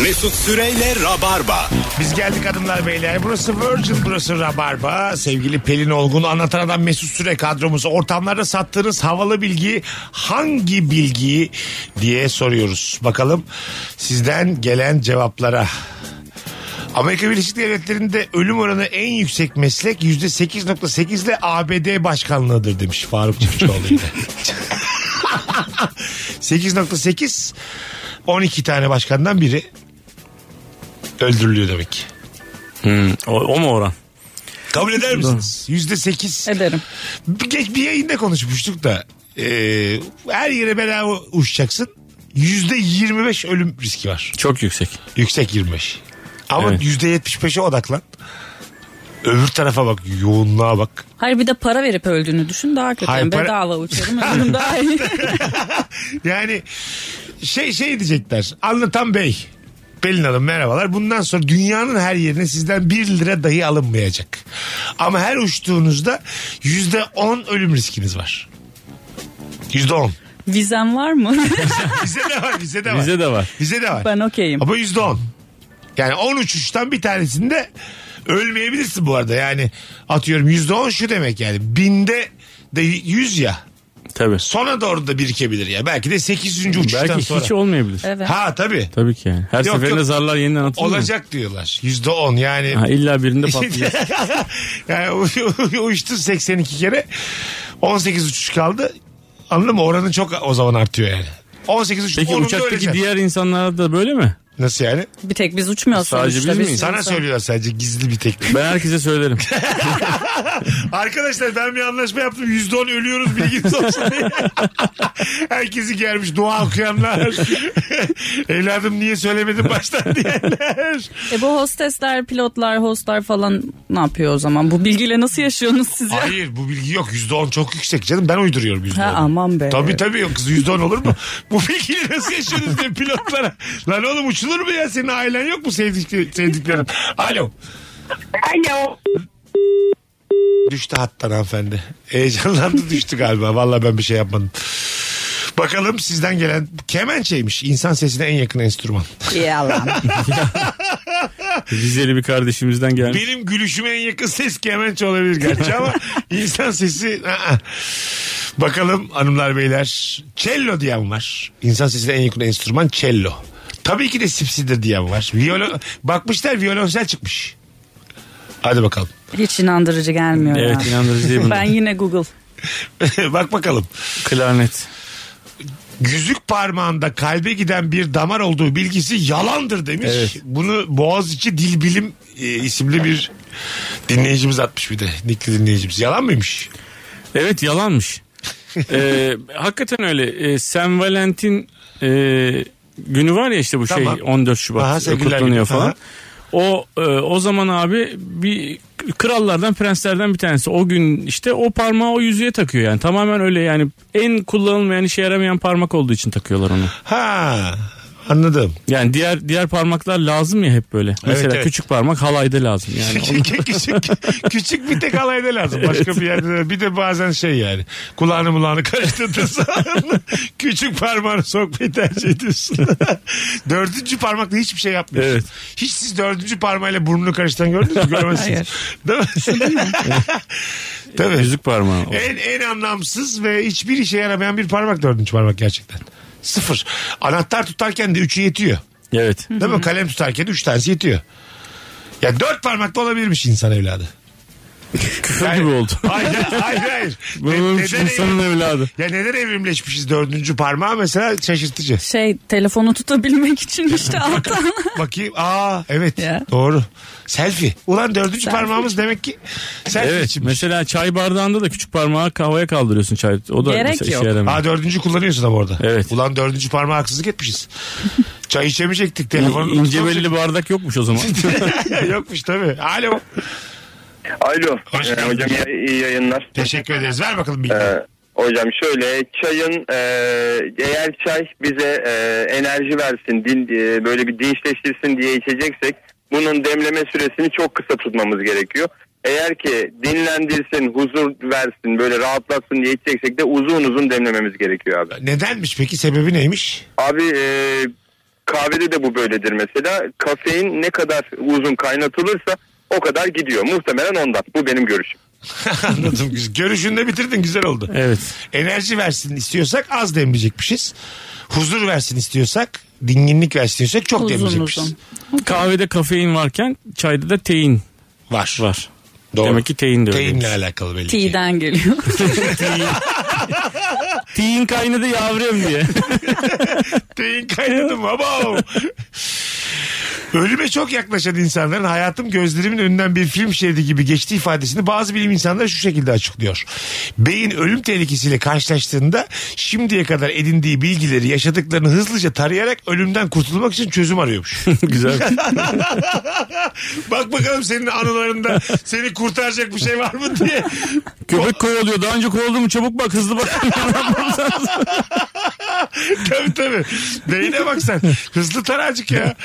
Speaker 6: Mesut Süreyle Rabarba.
Speaker 1: Biz geldik hanımlar beyler. Burası Virgin, burası Rabarba. Sevgili Pelin Olgun, anlatan adam Mesut Süre kadromuz. Ortamlarda sattığınız havalı bilgi hangi bilgiyi diye soruyoruz. Bakalım sizden gelen cevaplara. Amerika Birleşik Devletleri'nde ölüm oranı en yüksek meslek %8.8 ile ABD başkanlığıdır demiş Faruk Çiftçioğlu. yine. 8.8 12 tane başkandan biri öldürülüyor demek ki.
Speaker 2: o, mu oran?
Speaker 1: Kabul eder misiniz? Yüzde sekiz.
Speaker 7: Ederim.
Speaker 1: Bir, geç- bir yayında konuşmuştuk da e, her yere bedava uçacaksın. Yüzde yirmi beş ölüm riski var.
Speaker 2: Çok yüksek.
Speaker 1: Yüksek yirmi beş. Ama
Speaker 2: Evet.
Speaker 1: yüzde yetmiş beşe odaklan. Öbür tarafa bak yoğunluğa bak.
Speaker 7: Hayır bir de para verip öldüğünü düşün daha kötü.
Speaker 1: Hayır,
Speaker 7: Yani
Speaker 1: para-
Speaker 7: Bedava uçarım öldüm daha iyi.
Speaker 1: Yani şey şey diyecekler anlatan bey Pelin Hanım merhabalar. Bundan sonra dünyanın her yerine sizden 1 lira dahi alınmayacak. Ama her uçtuğunuzda %10 ölüm riskiniz var. %10.
Speaker 7: Vizem var mı?
Speaker 1: Bize de var, bize de var.
Speaker 2: Bize de var.
Speaker 1: Bize de var.
Speaker 7: ben okeyim.
Speaker 1: Ama yüzde on. Yani 10 uçuştan bir tanesinde ölmeyebilirsin bu arada. Yani atıyorum yüzde on şu demek yani. Binde de 100 ya.
Speaker 2: Tabii.
Speaker 1: Sona doğru da birikebilir ya. Belki de 8. uçuştan
Speaker 2: Belki
Speaker 1: sonra.
Speaker 2: hiç olmayabilir.
Speaker 7: Evet.
Speaker 1: Ha tabii.
Speaker 2: Tabii ki yani. Her
Speaker 1: Yok,
Speaker 2: seferinde
Speaker 1: yok.
Speaker 2: zarlar yeniden atılıyor. mu?
Speaker 1: Olacak diyorlar. Yüzde on yani.
Speaker 2: Ha, illa birinde patlayacak.
Speaker 1: yani u- u- uçtun 82 kere 18 uçuş kaldı. Anladın mı? Oranın çok o zaman artıyor yani. 18 uçuş.
Speaker 2: Peki
Speaker 1: onunda
Speaker 2: uçaktaki
Speaker 1: öleceksin.
Speaker 2: diğer insanlar da böyle mi?
Speaker 1: Nasıl yani?
Speaker 7: Bir tek biz uçmuyoruz
Speaker 2: Sadece
Speaker 7: sonuçta.
Speaker 2: biz
Speaker 7: Biz
Speaker 2: miyiz?
Speaker 1: Sana
Speaker 7: insan-
Speaker 1: söylüyorlar sadece gizli bir teknik.
Speaker 2: Ben herkese söylerim.
Speaker 1: Arkadaşlar ben bir anlaşma yaptım. Yüzde on ölüyoruz bilginiz olsun diye. Herkesi gelmiş dua okuyanlar. Evladım niye söylemedin baştan diyenler.
Speaker 7: E bu hostesler, pilotlar, hostlar falan ne yapıyor o zaman? Bu bilgiyle nasıl yaşıyorsunuz siz ya?
Speaker 1: Hayır bu bilgi yok. Yüzde on çok yüksek canım. Ben uyduruyorum yüzde
Speaker 7: Ha,
Speaker 1: onu.
Speaker 7: aman be.
Speaker 1: Tabii tabii yok kız yüzde on olur mu? bu bilgiyi nasıl yaşıyorsunuz diye pilotlara. Lan oğlum uçulur mu ya? Senin ailen yok mu sevdik, sevdiklerin? Alo.
Speaker 8: Alo.
Speaker 1: Düştü hattan hanımefendi. Heyecanlandı düştü galiba. Vallahi ben bir şey yapmadım. Bakalım sizden gelen kemençeymiş. İnsan sesine en yakın enstrüman.
Speaker 7: Yalan.
Speaker 2: Rizeli bir kardeşimizden gelmiş.
Speaker 1: Benim gülüşüme en yakın ses kemençe olabilir gerçi ama insan sesi... aa. Bakalım hanımlar beyler. Cello diyen var. İnsan sesine en yakın enstrüman cello. Tabii ki de sipsidir diyen var. Viyolo... Bakmışlar violonsel çıkmış. Hadi bakalım.
Speaker 7: Hiç inandırıcı gelmiyor.
Speaker 1: Evet,
Speaker 7: ya.
Speaker 1: inandırıcı değil bunlar.
Speaker 7: Ben yine Google.
Speaker 1: Bak bakalım.
Speaker 2: Klarnet.
Speaker 1: Yüzük parmağında kalbe giden bir damar olduğu bilgisi yalandır demiş. Bunu Boğaziçi Dil Bilim e, isimli bir dinleyicimiz atmış bir de. Nikli dinleyicimiz. Yalan mıymış?
Speaker 2: Evet yalanmış. Ee, hakikaten öyle. Ee, Sen Valentin e, günü var ya işte bu
Speaker 1: Tamam.
Speaker 2: şey 14 Şubat
Speaker 1: Aha,
Speaker 2: e,
Speaker 1: sevgililer günü.
Speaker 2: kutlanıyor falan.
Speaker 1: Aha.
Speaker 2: O e, o zaman abi bir krallardan prenslerden bir tanesi o gün işte o parmağı o yüzüğe takıyor yani tamamen öyle yani en kullanılmayan işe yaramayan parmak olduğu için takıyorlar onu.
Speaker 1: Ha anladım.
Speaker 2: Yani diğer diğer parmaklar lazım ya hep böyle. Mesela
Speaker 1: evet.
Speaker 2: küçük parmak halayda lazım yani. Onu-
Speaker 1: küçük, küçük bir tek alayda lazım. Başka bir yerde de- bir de bazen şey yani kulağını mulağını karıştırdın küçük parmağını sokmayı tercih ediyorsun. dördüncü parmakla hiçbir şey yapmıyorsun. Hiç siz dördüncü parmağıyla burnunu karıştıran gördünüz mü? Görmezsiniz. Değil mi? Tabii.
Speaker 2: Yüzük parmağı.
Speaker 1: En, en anlamsız ve hiçbir işe yaramayan bir parmak dördüncü parmak gerçekten. Sıfır. Anahtar tutarken de üçü yetiyor.
Speaker 2: Evet.
Speaker 1: Değil mi? Kalem tutarken üç tanesi yetiyor. Ya dört parmakta olabilirmiş insan evladı.
Speaker 2: Küfür gibi oldu.
Speaker 1: Hayır hayır hayır. Ne-
Speaker 2: Olmamış insanın
Speaker 1: evrim-
Speaker 2: evladı.
Speaker 1: Ya neden evrimleşmişiz dördüncü parmağı mesela şaşırtıcı.
Speaker 7: Şey telefonu tutabilmek için işte alttan.
Speaker 1: Bakayım aa evet doğru. Selfie. Ulan dördüncü
Speaker 7: Selfie.
Speaker 1: parmağımız demek ki selfie
Speaker 2: Evet.
Speaker 1: için.
Speaker 2: Mesela çay bardağında da küçük parmağı kahvaya kaldırıyorsun çay. O da
Speaker 1: Gerek
Speaker 2: mesela işe
Speaker 1: yok.
Speaker 2: yaramıyor.
Speaker 1: Ha, dördüncü kullanıyorsun ama orada.
Speaker 2: Evet.
Speaker 1: Ulan dördüncü parmağı haksızlık etmişiz. Çay içemeyecektik. Telefonu
Speaker 2: İn- İnce belli şey. bardak yokmuş o zaman.
Speaker 1: Yokmuş tabii. Alo.
Speaker 13: Alo.
Speaker 1: Hoş
Speaker 13: Ee,
Speaker 1: geldin.
Speaker 13: hocam iyi, iyi yayınlar.
Speaker 1: Teşekkür ederiz. Ver bakalım
Speaker 13: bilgiyi.
Speaker 4: Ee.
Speaker 13: Ee, hocam şöyle çayın e, eğer çay bize e, enerji versin, din, e, böyle bir dinçleştirsin diye içeceksek bunun demleme süresini çok kısa tutmamız gerekiyor. Eğer ki dinlendirsin, huzur versin, böyle rahatlatsın diye içeceksek de uzun uzun demlememiz gerekiyor abi.
Speaker 1: Nedenmiş peki sebebi neymiş?
Speaker 13: Abi e, kahvede de bu böyledir mesela. Kafein ne kadar uzun kaynatılırsa o kadar gidiyor. Muhtemelen ondan. Bu benim görüşüm.
Speaker 1: Anladım. Güzel. Görüşünü de bitirdin güzel oldu.
Speaker 2: Evet.
Speaker 1: Enerji versin istiyorsak az demleyecekmişiz. Huzur versin istiyorsak, dinginlik versin istiyorsak çok demleyecekmişiz.
Speaker 2: Kahvede kafein varken çayda da tein
Speaker 1: var.
Speaker 2: Var.
Speaker 1: Doğru.
Speaker 2: Demek ki tein de öyle.
Speaker 1: Teyinle alakalı belli.
Speaker 7: T'den geliyor.
Speaker 2: Tein kaynadı yavrum diye.
Speaker 1: Teyin kaynadı mı? Abo! Ölüme çok yaklaşan insanların hayatım gözlerimin önünden bir film şeridi gibi geçti ifadesini bazı bilim insanları şu şekilde açıklıyor. Beyin ölüm tehlikesiyle karşılaştığında şimdiye kadar edindiği bilgileri yaşadıklarını hızlıca tarayarak ölümden kurtulmak için çözüm arıyormuş.
Speaker 2: Güzel.
Speaker 1: Bak bakalım senin anılarında seni kurtaracak bir şey var mı diye.
Speaker 2: Köpek kovalıyor. Daha önce kovaldı mı çabuk bak hızlı bak.
Speaker 1: tabii tabii. Beyine bak sen. Hızlı taracık ya.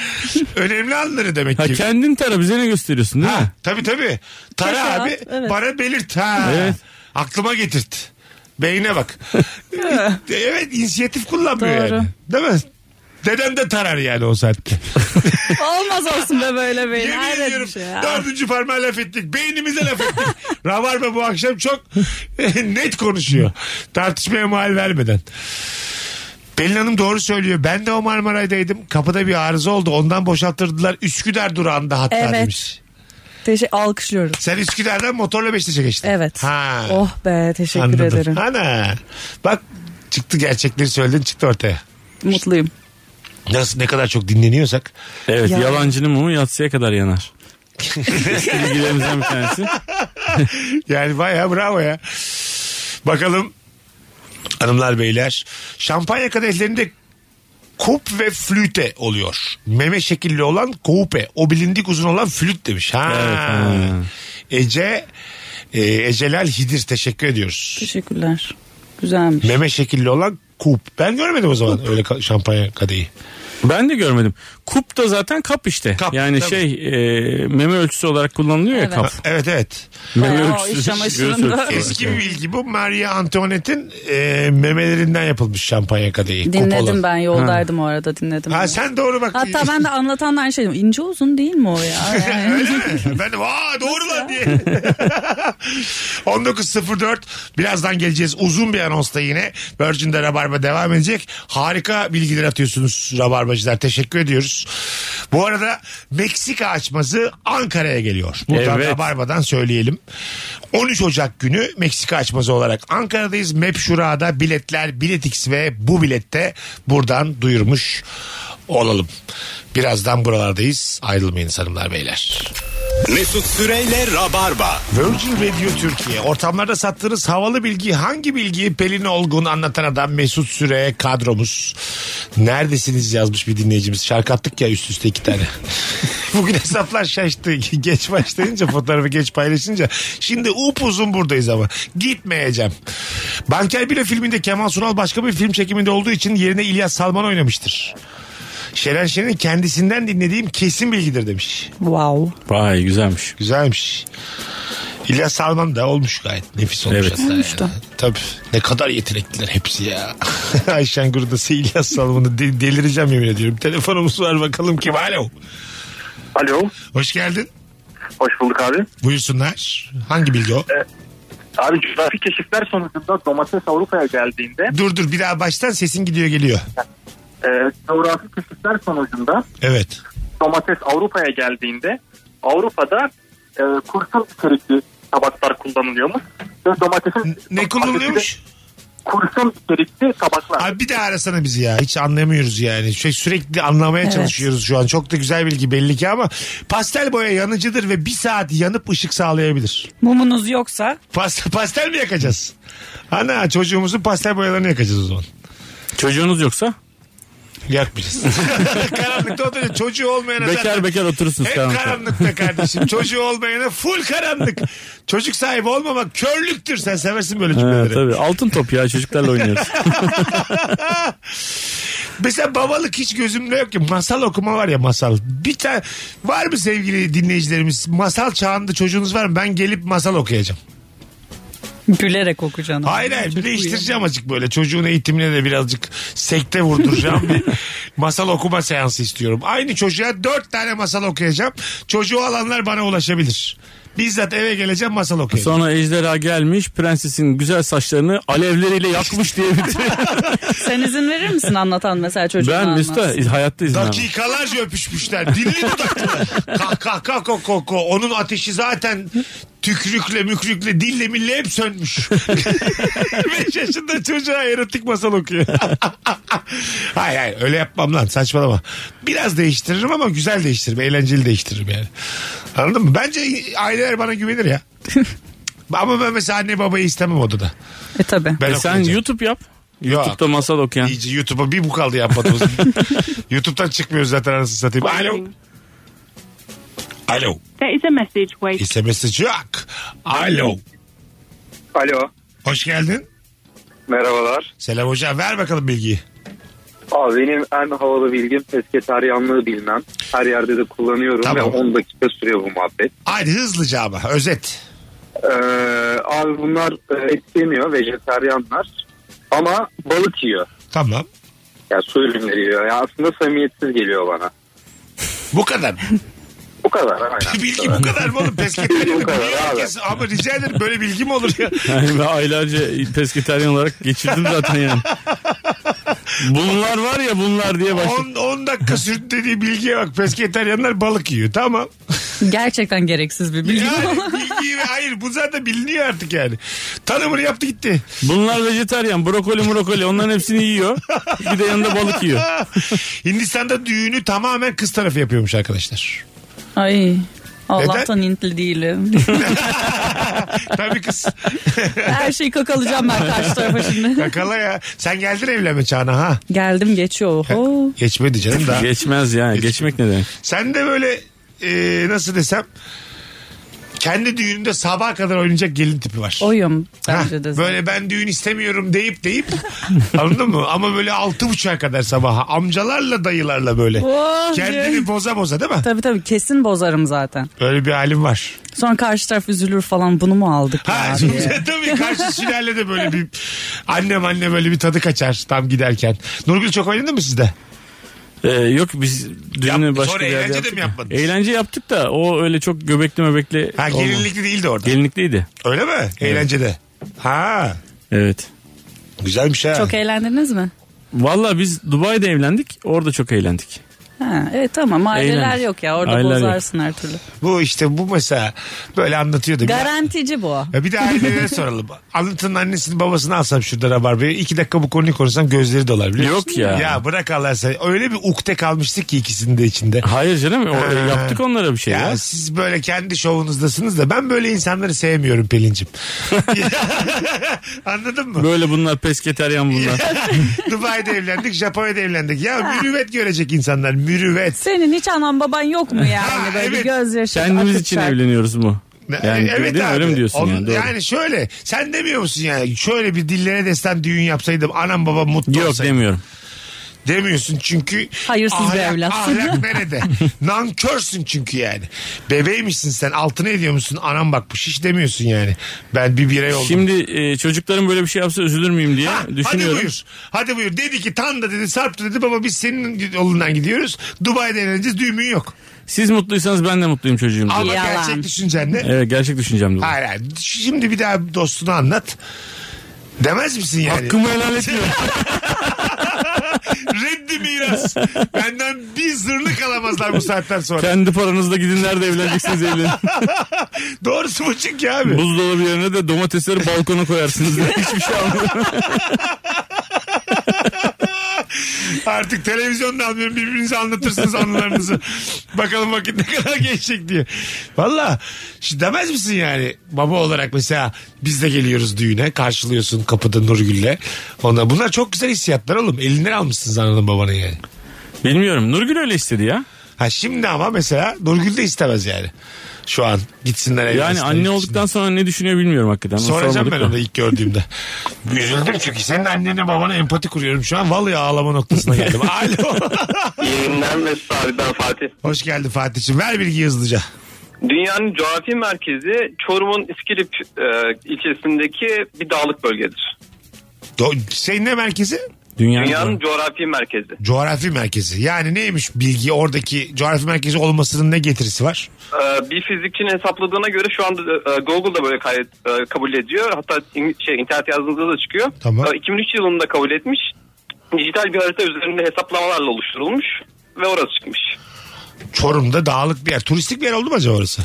Speaker 1: Önemli anları demek ki.
Speaker 2: ha, kendin tara bize ne gösteriyorsun değil mi?
Speaker 1: Tabii tabii. Tara
Speaker 2: Keşke
Speaker 1: abi
Speaker 2: at, evet.
Speaker 1: bana belirt ha.
Speaker 2: Evet.
Speaker 1: Aklıma getirt. Beyine bak. evet inisiyatif kullanmıyor
Speaker 7: Doğru.
Speaker 1: yani. Değil mi? Dedem de tarar yani o saatte.
Speaker 7: Olmaz olsun be böyle beyin.
Speaker 1: Yemin
Speaker 7: Hayret bir
Speaker 1: ediyorum
Speaker 7: şey ya.
Speaker 1: dördüncü parmağa laf ettik. Beynimize laf ettik. Rabarba bu akşam çok net konuşuyor. Tartışmaya mahal vermeden. Pelin Hanım doğru söylüyor. Ben de o Marmaray'daydım. Kapıda bir arıza oldu. Ondan boşalttırdılar. Üsküdar durağında hatta
Speaker 7: Evet.
Speaker 1: demiş.
Speaker 7: Teşekkür alkışlıyorum.
Speaker 1: Sen Üsküdar'dan motorla Beşiktaş'a geçtin.
Speaker 7: Evet.
Speaker 1: Ha.
Speaker 7: Oh be teşekkür
Speaker 1: Anladım.
Speaker 7: ederim.
Speaker 1: Ana. Bak çıktı gerçekleri söyledin çıktı ortaya.
Speaker 7: Mutluyum.
Speaker 1: Nasıl ne kadar çok dinleniyorsak.
Speaker 2: Evet
Speaker 1: Ya.
Speaker 2: yalancının mumu yatsıya kadar yanar. Bilgilerimizden bir tanesi.
Speaker 1: yani bayağı bravo ya. Bakalım hanımlar beyler. Şampanya kadehlerinde kup ve flüte oluyor. Meme şekilli olan kupe. O bilindik uzun olan flüt demiş. Ha. Ece e, Ecelal Hidir teşekkür ediyoruz.
Speaker 7: Teşekkürler. Güzelmiş.
Speaker 1: Meme şekilli olan kup. Ben görmedim o zaman öyle ka- şampanya kadehi.
Speaker 2: Ben de görmedim. Kup da zaten kap işte. yani
Speaker 1: tabii.
Speaker 2: şey e, meme ölçüsü olarak kullanılıyor
Speaker 1: Evet.
Speaker 2: ya kap.
Speaker 1: Evet evet.
Speaker 2: Meme ölçüsü. göğüs ölçüsü.
Speaker 1: Eski bir bilgi bu. Maria Antoinette'in e, memelerinden yapılmış şampanya kadehi.
Speaker 7: Dinledim
Speaker 1: Kupola.
Speaker 7: ben yoldaydım o arada dinledim.
Speaker 1: Ha,
Speaker 7: bunu.
Speaker 1: sen doğru bak.
Speaker 7: Hatta ben de anlatandan aynı şey dedim. İnce uzun değil mi o ya? Yani.
Speaker 1: Öyle mi? ben de aa doğru lan diye. 19.04 birazdan geleceğiz. Uzun bir anonsta yine Virgin'de Rabarba devam edecek. Harika bilgiler atıyorsunuz Rabarbacılar. Teşekkür ediyoruz. Bu arada Meksika açması Ankara'ya geliyor. Buradan
Speaker 2: Evet.
Speaker 1: Rabarba'dan söyleyelim. 13 Ocak günü Meksika açması olarak Ankara'dayız. Mep Şura'da biletler Biletix ve bu bilette buradan duyurmuş olalım. Birazdan buralardayız. Ayrılmayın hanımlar beyler.
Speaker 6: Mesut Süreyle Rabarba.
Speaker 1: Virgin Radio Türkiye. Ortamlarda sattığınız havalı bilgi hangi bilgi? Pelin Olgun anlatan adam Mesut Süre kadromuz. Neredesiniz yazmış bir dinleyicimiz. Şarkı attık ya üst üste iki tane. Bugün hesaplar şaştı. Geç başlayınca fotoğrafı geç paylaşınca. Şimdi upuzun buradayız ama. Gitmeyeceğim. Banker Bilo filminde Kemal Sunal başka bir film çekiminde olduğu için yerine İlyas Salman oynamıştır. Şeren Şen'in kendisinden dinlediğim kesin bilgidir demiş.
Speaker 7: Wow.
Speaker 2: Vay güzelmiş.
Speaker 1: Güzelmiş. İlyas Salman da olmuş gayet. Nefis olmuş
Speaker 2: Evet.
Speaker 1: hatta
Speaker 2: Olmuş
Speaker 1: yani.
Speaker 2: da.
Speaker 1: Tabii. Ne kadar yetenekliler hepsi ya. Ayşen Gurdası İlyas Salman'ı de- delireceğim yemin ediyorum. Telefonumuz var bakalım kim. Alo.
Speaker 14: Alo.
Speaker 1: Hoş geldin.
Speaker 14: Hoş bulduk abi.
Speaker 1: Buyursunlar. Hangi bilgi o?
Speaker 14: Abi coğrafi keşifler sonucunda domates Avrupa'ya geldiğinde
Speaker 1: Dur dur bir daha baştan sesin gidiyor geliyor.
Speaker 14: e, coğrafi keşifler sonucunda
Speaker 1: Evet.
Speaker 14: domates Avrupa'ya geldiğinde Avrupa'da e, kurşun içerikli tabaklar kullanılıyormuş. Ve domatesin
Speaker 1: Ne kullanılıyormuş?
Speaker 14: Kurşun içerikli tabaklar.
Speaker 1: Abi bir daha arasana bizi ya. Hiç anlamıyoruz yani. Şey, sürekli anlamaya
Speaker 14: Evet.
Speaker 1: çalışıyoruz şu an. Çok da güzel bilgi belli ki ama pastel boya yanıcıdır ve bir saat yanıp ışık sağlayabilir.
Speaker 7: Mumunuz yoksa?
Speaker 1: Pastel, pastel mi yakacağız? Ana çocuğumuzun pastel boyalarını yakacağız o zaman.
Speaker 2: Çocuğunuz yoksa?
Speaker 1: Yakmayacağız. Karanlıkta oturuyor. Çocuğu olmayana
Speaker 2: Bekar
Speaker 1: zaten-
Speaker 2: bekar oturursunuz
Speaker 1: Hep
Speaker 2: karanlıkta.
Speaker 1: karanlıkta kardeşim. Çocuğu olmayana full karanlık. Çocuk sahibi olmamak körlüktür. Sen seversin böyle
Speaker 2: Ha,
Speaker 1: cümleleri.
Speaker 2: tabii altın top ya çocuklarla oynuyoruz.
Speaker 1: Mesela babalık hiç gözümde yok ki. Masal okuma var ya masal. Bir tane var mı sevgili dinleyicilerimiz? Masal çağında çocuğunuz var mı? Ben gelip masal okuyacağım.
Speaker 7: Gülerek okuyacağım.
Speaker 1: Hayır hayır bir değiştireceğim azıcık böyle. Çocuğun eğitimine de birazcık sekte vurduracağım bir masal okuma seansı istiyorum. Aynı çocuğa dört tane masal okuyacağım. Çocuğu alanlar bana ulaşabilir. Bizzat eve geleceğim masal okuyacağım.
Speaker 2: Sonra ejderha gelmiş prensesin güzel saçlarını alevleriyle yakmış diye bitiriyor.
Speaker 7: Sen izin verir misin anlatan mesela çocuğuna
Speaker 2: ben
Speaker 7: anlatsın?
Speaker 2: Mesut'a hayatta izin vermem.
Speaker 1: Dakikalarca öpüşmüşler. Dilli dudaklılar. Kah kah kah kok kok kok. Onun ateşi zaten tükrükle mükrükle dille mille hep sönmüş. 5 yaşında çocuğa erotik masal okuyor. hayır hayır öyle yapmam lan saçmalama. Biraz değiştiririm ama güzel değiştiririm. Eğlenceli değiştiririm yani. Anladın mı? Bence aileler bana güvenir ya. ama ben mesela anne babayı istemem odada.
Speaker 7: E tabi.
Speaker 1: Ben
Speaker 2: E sen YouTube yap.
Speaker 1: YouTube'da
Speaker 2: masal okuyan.
Speaker 1: İyice YouTube'a bir bu kaldı yapmadığımız. YouTube'dan çıkmıyoruz zaten anasını satayım. Alo. Alo.
Speaker 15: There is a message waiting.
Speaker 1: SMS sıcak. Alo.
Speaker 16: Alo.
Speaker 1: Hoş geldin.
Speaker 16: Merhabalar.
Speaker 1: Selam hocam. Ver bakalım bilgiyi.
Speaker 16: Abi benim en havalı bilgim pesketaryanlığı bilmem. Her yerde de kullanıyorum
Speaker 1: Tamam.
Speaker 16: ve 10 dakika sürüyor bu muhabbet.
Speaker 1: Haydi hızlıca ama özet.
Speaker 16: Ee, abi bunlar e, et yemiyor, vejetaryanlar. Ama balık yiyor.
Speaker 1: Tamam.
Speaker 16: Ya su ürünleri yiyor. Ya aslında samimiyetsiz geliyor bana.
Speaker 1: Bu kadar.
Speaker 16: bu kadar aynen.
Speaker 1: Bilgi bu kadar mı oğlum? Pesketaryanlığı
Speaker 16: Bu kadar
Speaker 1: biliyor
Speaker 16: abi.
Speaker 1: herkes. Ama rica ederim böyle bilgi mi olur ya?
Speaker 2: Yani ben aylarca pesketaryen olarak geçirdim zaten yani. Bunlar var ya bunlar diye başladım.
Speaker 1: 10 dakika sürdü dediği bilgiye bak. Pesketaryanlar balık yiyor. Tamam.
Speaker 7: Gerçekten gereksiz bir bilgi.
Speaker 1: Yani bilgi hayır bu zaten biliniyor artık yani. Tanımını yaptı gitti.
Speaker 2: Bunlar vejetaryen brokoli brokoli onların hepsini yiyor. Bir de yanında balık yiyor.
Speaker 1: Hindistan'da düğünü tamamen kız tarafı yapıyormuş arkadaşlar.
Speaker 7: Ay. Allah'tan Hintli değilim.
Speaker 1: Tabii kız.
Speaker 7: Her şeyi kakalayacağım ben karşı tarafa şimdi.
Speaker 1: Kakala ya. Sen geldin evlenme çağına ha.
Speaker 7: Geldim geçiyor. Oho.
Speaker 1: Geçmedi canım daha.
Speaker 2: Geçmez yani. Geçmek ne demek?
Speaker 1: Sen de böyle e, nasıl desem Kendi düğününde sabaha kadar oynayacak gelin tipi var.
Speaker 7: Oyum.
Speaker 1: Hah, böyle ben düğün istemiyorum deyip deyip anladın mı? Ama böyle altı buçuğa kadar sabaha amcalarla dayılarla böyle.
Speaker 7: Oh,
Speaker 1: Kendini
Speaker 7: yeah.
Speaker 1: boza boza değil mi?
Speaker 7: Tabii tabii kesin bozarım zaten.
Speaker 1: Böyle bir halim var.
Speaker 7: Sonra karşı taraf üzülür falan bunu mu aldık ya diye.
Speaker 1: Tabii karşı sülale de böyle bir annem anne böyle bir tadı kaçar tam giderken. Nurgül çok oynadın mı sizde?
Speaker 2: Ee, yok biz düğünü başka
Speaker 1: sonra
Speaker 2: bir yerde
Speaker 1: eğlence de
Speaker 2: yaptık
Speaker 1: mi
Speaker 2: ya.
Speaker 1: yapmadınız?
Speaker 2: Eğlence yaptık da o öyle çok göbekli möbekli.
Speaker 1: Ha,
Speaker 2: olmadı.
Speaker 1: gelinlikli değildi orada.
Speaker 2: Gelinlikliydi.
Speaker 1: Öyle mi? Eğlencede. Ha.
Speaker 2: Evet.
Speaker 1: Güzelmiş ha.
Speaker 7: Çok e- eğlendiniz mi?
Speaker 2: Valla biz Dubai'de evlendik. Orada çok eğlendik.
Speaker 7: Ha, evet tamam aileler
Speaker 2: Eğlendik.
Speaker 7: yok ya orada
Speaker 2: Aileler yok.
Speaker 7: bozarsın her türlü.
Speaker 1: Bu işte bu mesela böyle anlatıyordu. Bir-
Speaker 7: Garantici bu.
Speaker 1: Ya bir de ailelere soralım. Anlatın annesini babasını alsam şurada rabarbeye. iki dakika bu konuyu konuşsam gözleri dolar biliyor musun?
Speaker 2: Yok ya.
Speaker 1: Ya bırak Allah seni. Öyle bir ukde kalmıştık ki ikisinin de içinde.
Speaker 2: Hayır canım o-
Speaker 1: Ee,
Speaker 2: yaptık onlara bir şey ya.
Speaker 1: Ya siz böyle kendi şovunuzdasınız da ben böyle insanları sevmiyorum Pelin'cim. Anladın mı?
Speaker 2: Böyle bunlar pesketeryan bunlar.
Speaker 1: Dubai'de evlendik, Japonya'da evlendik. Ya mürüvvet görecek insanlar, mürüvvet.
Speaker 7: Senin hiç anan baban yok mu yani böyle
Speaker 1: evet.
Speaker 7: gözyaşı
Speaker 2: Kendimiz için evleniyoruz mu?
Speaker 1: Ne-
Speaker 2: Yani değil mi?
Speaker 1: abi.
Speaker 2: öyle mi diyorsun
Speaker 1: Onun-
Speaker 2: yani? Doğru.
Speaker 1: şöyle sen demiyor musun yani şöyle bir dillere destan düğün yapsaydım anam babam mutlu
Speaker 2: Yok
Speaker 1: olsaydı.
Speaker 2: demiyorum.
Speaker 1: Demiyorsun çünkü
Speaker 7: Hayırsız bir
Speaker 1: ahlak,
Speaker 7: evlatsın.
Speaker 1: ahlak nerede? Nankörsün çünkü yani. Bebeğmişsin sen altına ediyor musun? Anam bakmış hiç demiyorsun yani. Ben bir birey oldum.
Speaker 2: Şimdi e, çocuklarım böyle bir şey yapsa üzülür müyüm diye
Speaker 1: Hadi
Speaker 2: düşünüyorum.
Speaker 1: buyur. Hadi buyur. Dedi ki tam da dedi Sarp da dedi baba biz senin yolundan gidiyoruz. Dubai'de evleneceğiz düğümün yok.
Speaker 2: Siz mutluysanız ben de mutluyum çocuğum.
Speaker 1: Ama
Speaker 2: diye.
Speaker 1: gerçek düşüncen ne?
Speaker 2: Evet gerçek düşüncem de bu.
Speaker 1: Hayır, hayır. Şimdi bir daha dostunu anlat. Demez misin yani?
Speaker 2: Hakkımı helal etmiyorum.
Speaker 1: Reddi miras. Benden bir zırnık alamazlar bu saatten sonra.
Speaker 2: Kendi paranızla gidin nerede evleneceksiniz evlenin.
Speaker 1: Doğrusu bu çünkü abi.
Speaker 2: Buzdolabı yerine de domatesleri balkona koyarsınız. diye. Hiçbir şey almıyorum.
Speaker 1: Artık televizyonda almıyorum birbirinize anlatırsınız anılarınızı. Bakalım vakit ne kadar geçecek diye. Valla şu demez misin yani baba olarak mesela biz de geliyoruz düğüne karşılıyorsun kapıda Nurgül'le. Ona, bunlar çok güzel hissiyatlar oğlum elinden almışsınız ananın babanın yani.
Speaker 2: Bilmiyorum Nurgül öyle istedi ya.
Speaker 1: Ha şimdi ama mesela Nurgül de istemez yani. Şu an gitsinler
Speaker 2: Yani
Speaker 1: evlensinler,
Speaker 2: anne olduktan sonra ne düşünüyor bilmiyorum hakikaten. Onu
Speaker 1: Soracağım
Speaker 2: sormadık
Speaker 1: ben
Speaker 2: da.
Speaker 1: onu ilk gördüğümde. Üzüldüm çünkü senin annene babana empati kuruyorum şu an. Vallahi ağlama noktasına geldim. Alo.
Speaker 15: Yayından Mesut abi ben Fatih.
Speaker 1: Hoş geldin Fatih'ciğim. Ver bilgiyi hızlıca.
Speaker 15: Dünyanın coğrafi merkezi Çorum'un İskilip e, ilçesindeki bir dağlık bölgedir.
Speaker 1: Do- şey ne merkezi?
Speaker 15: Dünyanın, coğrafi merkezi.
Speaker 1: Coğrafi merkezi. Yani neymiş bilgi oradaki coğrafi merkezi olmasının ne getirisi var?
Speaker 15: E, bir fizikçinin hesapladığına göre şu anda e, Google'da böyle kayıt, e, kabul ediyor. Hatta in- şey internet yazdığınızda da çıkıyor.
Speaker 1: Tamam.
Speaker 15: E, 2003 yılında kabul etmiş. Dijital bir harita üzerinde hesaplamalarla oluşturulmuş ve orası çıkmış.
Speaker 1: Çorum'da dağlık bir yer. Turistik bir yer oldu mu acaba orası?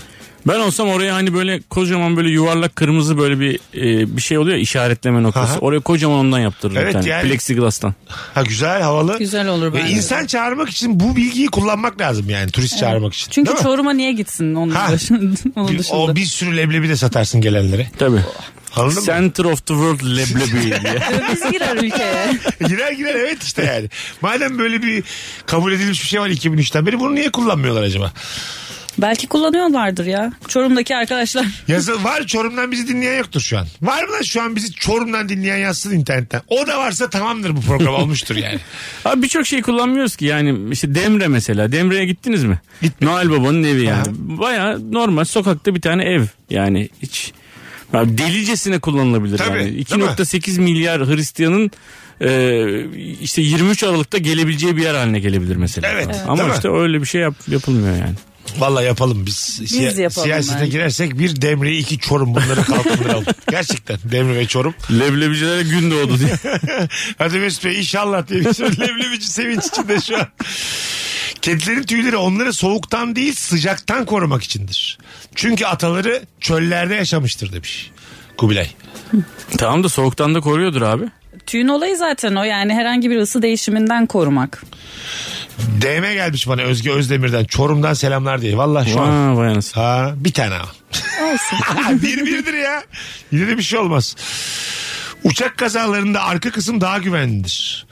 Speaker 2: Ben olsam oraya hani böyle kocaman böyle yuvarlak kırmızı böyle bir e, bir şey oluyor ya, işaretleme noktası.
Speaker 1: Aha.
Speaker 2: Oraya kocaman ondan yaptırırım
Speaker 1: Evet
Speaker 2: bir tane.
Speaker 1: yani.
Speaker 2: Plexiglass'tan.
Speaker 1: Ha güzel havalı.
Speaker 7: Güzel
Speaker 1: Ve
Speaker 7: olur bence.
Speaker 1: insan çağırmak için bu bilgiyi kullanmak lazım yani turist çağırmak için.
Speaker 7: Çünkü
Speaker 1: Değil mi?
Speaker 7: Çorum'a niye gitsin onun
Speaker 1: Ha.
Speaker 7: dışında? onun
Speaker 1: Bir-
Speaker 7: dışında.
Speaker 1: o bir sürü leblebi de satarsın gelenlere.
Speaker 2: Tabii.
Speaker 1: Anladın mı?
Speaker 2: Center of the world leblebi diye.
Speaker 7: Döviz girer ülkeye.
Speaker 1: girer girer evet işte yani. Madem böyle bir kabul edilmiş bir şey var 2003'ten beri bunu niye kullanmıyorlar acaba?
Speaker 7: Belki kullanıyorlardır ya. Çorum'daki arkadaşlar.
Speaker 1: Yazı var Çorum'dan bizi dinleyen yoktur şu an. Var mı lan şu an bizi Çorum'dan dinleyen yazsın internetten. O da varsa tamamdır bu program olmuştur yani.
Speaker 2: Abi birçok şey kullanmıyoruz ki yani işte Demre mesela. Demre'ye gittiniz mi? Noel Baba'nın evi yani. Baya normal sokakta bir tane ev yani hiç abi delicesine kullanılabilir
Speaker 1: Tabii,
Speaker 2: yani.
Speaker 1: değil mi?
Speaker 2: 2.8 milyar Hristiyanın e, işte 23 Aralık'ta gelebileceği bir yer haline gelebilir mesela.
Speaker 1: Evet, Evet.
Speaker 2: Ama
Speaker 1: değil mi?
Speaker 2: işte öyle bir şey yap, yapılmıyor yani.
Speaker 1: Vallahi yapalım biz. Siya-
Speaker 7: yapalım
Speaker 1: Siyasete
Speaker 7: bence.
Speaker 1: girersek bir Demre'yi iki Çorum bunları kalkındıralım. Gerçekten Demre ve Çorum.
Speaker 2: Leblebicilere gün doğdu diye.
Speaker 1: Hadi Mesut Bey inşallah diye bir sürü leblebici sevinç içinde şu an. Kedilerin tüyleri onları soğuktan değil sıcaktan korumak içindir. Çünkü ataları çöllerde yaşamıştır demiş Kubilay.
Speaker 2: tamam da soğuktan da koruyordur abi.
Speaker 7: Tüyün olayı zaten o yani herhangi bir ısı değişiminden korumak.
Speaker 1: DM gelmiş bana Özge Özdemir'den Çorum'dan selamlar diye. Vallahi şu an.
Speaker 2: Aa, vay anasını.
Speaker 1: Ha, bir tane ama.
Speaker 7: Olsun.
Speaker 1: bir birdir ya. Yine de bir şey olmaz. Uçak kazalarında arka kısım daha güvenlidir.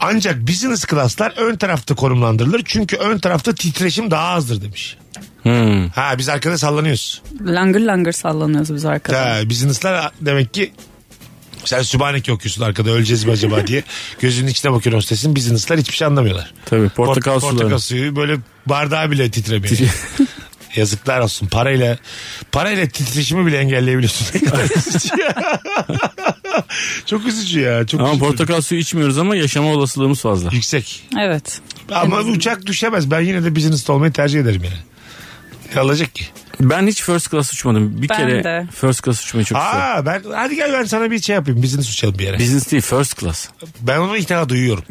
Speaker 1: Ancak business class'lar ön tarafta konumlandırılır. Çünkü ön tarafta titreşim daha azdır demiş. Ha biz arkada sallanıyoruz.
Speaker 7: Langır langır sallanıyoruz biz arkada.
Speaker 1: Ha, biz Yunuslar demek ki sen Sübhaneke okuyorsun arkada öleceğiz mi acaba diye. Gözünün içine bakıyor hostesin. Biz Yunuslar hiçbir şey anlamıyorlar.
Speaker 2: Tabii portakal
Speaker 1: Port-
Speaker 2: suları.
Speaker 1: Portakal suyu böyle bardağı bile titremiyor. Yazıklar olsun parayla parayla titreşimi bile engelleyebiliyorsun. Ne kadar üzücü ya. çok üzücü ya. Çok
Speaker 2: Ama
Speaker 1: üzücü.
Speaker 2: portakal suyu içmiyoruz ama yaşama olasılığımız fazla.
Speaker 1: Yüksek.
Speaker 7: Evet.
Speaker 1: Ama uçak düşemez. Ben yine de business'ta olmayı tercih ederim yani. Ne alacak ki?
Speaker 2: Ben hiç first class uçmadım. Bir
Speaker 1: Ben
Speaker 2: kere
Speaker 1: de.
Speaker 2: first class uçmayı çok istiyorum.
Speaker 1: Aa ben hadi gel ben sana bir şey yapayım. Business uçalım bir yere.
Speaker 2: Business değil first class.
Speaker 1: Ben onu ikna duyuyorum.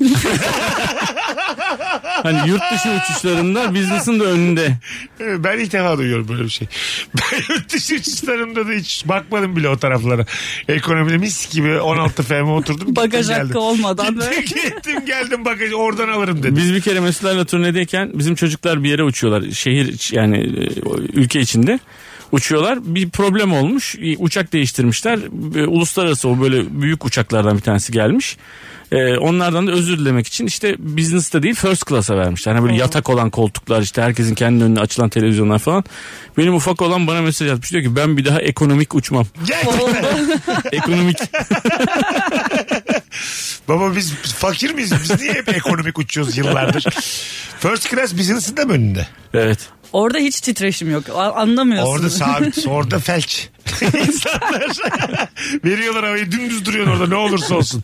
Speaker 2: Hani yurt dışı uçuşlarında business'ın da önünde.
Speaker 1: Ben ilk defa duyuyorum böyle bir şey. Ben yurt dışı uçuşlarımda da hiç bakmadım bile o taraflara. Ekonomide mis gibi 16 FM oturdum. gittim
Speaker 7: Bagaj
Speaker 1: geldim.
Speaker 7: hakkı olmadan
Speaker 1: Gittim,
Speaker 7: böyle.
Speaker 1: gittim geldim bagajı oradan alırım dedim.
Speaker 2: Biz bir kere Mesutlarla turnedeyken bizim çocuklar bir yere uçuyorlar. Şehir iç- yani e, o ülke içinde uçuyorlar. Bir problem olmuş. E, Uçak değiştirmişler. E, Uluslararası o böyle büyük uçaklardan bir tanesi gelmiş. E, onlardan da özür dilemek için işte business'ta değil first class'a vermişler. Hani böyle yatak olan koltuklar işte herkesin kendi önüne açılan televizyonlar falan. Benim ufak olan bana mesaj atmış diyor ki ben bir daha ekonomik uçmam. ekonomik.
Speaker 1: Baba biz fakir miyiz? Biz niye hep ekonomik uçuyoruz yıllardır? First class business'ın da mı önünde?
Speaker 2: Evet.
Speaker 7: Orada hiç titreşim yok. A- Anlamıyorsun.
Speaker 1: Orada sabit, orada felç. İnsanlar veriyorlar havayı dümdüz duruyor orada ne olursa olsun.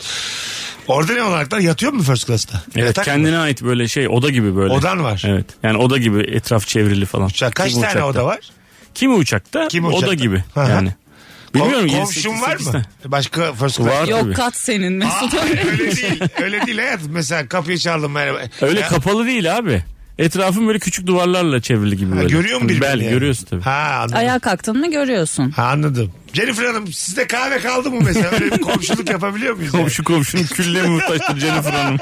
Speaker 1: Orada ne olaraklar yatıyor mu first class'ta?
Speaker 2: Evet
Speaker 1: Yatak mı?
Speaker 2: kendine ait böyle şey oda gibi böyle.
Speaker 1: Odan var.
Speaker 2: Evet yani oda gibi etraf çevrili falan.
Speaker 1: Uçak, kaç tane oda var?
Speaker 2: Kimi uçakta
Speaker 1: Kimi
Speaker 2: oda
Speaker 1: uçakta?
Speaker 2: gibi
Speaker 1: Hı hı.
Speaker 2: yani. Bilmiyorum.
Speaker 1: Kom-
Speaker 2: yedi,
Speaker 1: komşun
Speaker 2: sekiz,
Speaker 1: var
Speaker 2: sekiz
Speaker 1: mı?
Speaker 2: tane.
Speaker 1: Başka first class.
Speaker 2: Var
Speaker 7: Yok
Speaker 2: tabii.
Speaker 7: kat senin Mesut.
Speaker 1: öyle değil. Öyle değil hayatım. Mesela kapıyı çaldım merhaba.
Speaker 2: Öyle
Speaker 1: Ya,
Speaker 2: kapalı değil abi. Etrafın böyle küçük duvarlarla çevrili gibi
Speaker 1: Ha,
Speaker 2: böyle. Hani
Speaker 1: görüyor mu birbirini
Speaker 2: Bel
Speaker 1: yani?
Speaker 2: görüyorsun tabii.
Speaker 1: Ha anladım.
Speaker 7: Ayağa kalktın mı görüyorsun.
Speaker 1: Ha, anladım. Jennifer Hanım sizde kahve kaldı mı mesela? Öyle bir komşuluk yapabiliyor muyuz?
Speaker 2: Komşu komşunun külle mi muhtaçtır Jennifer Hanım?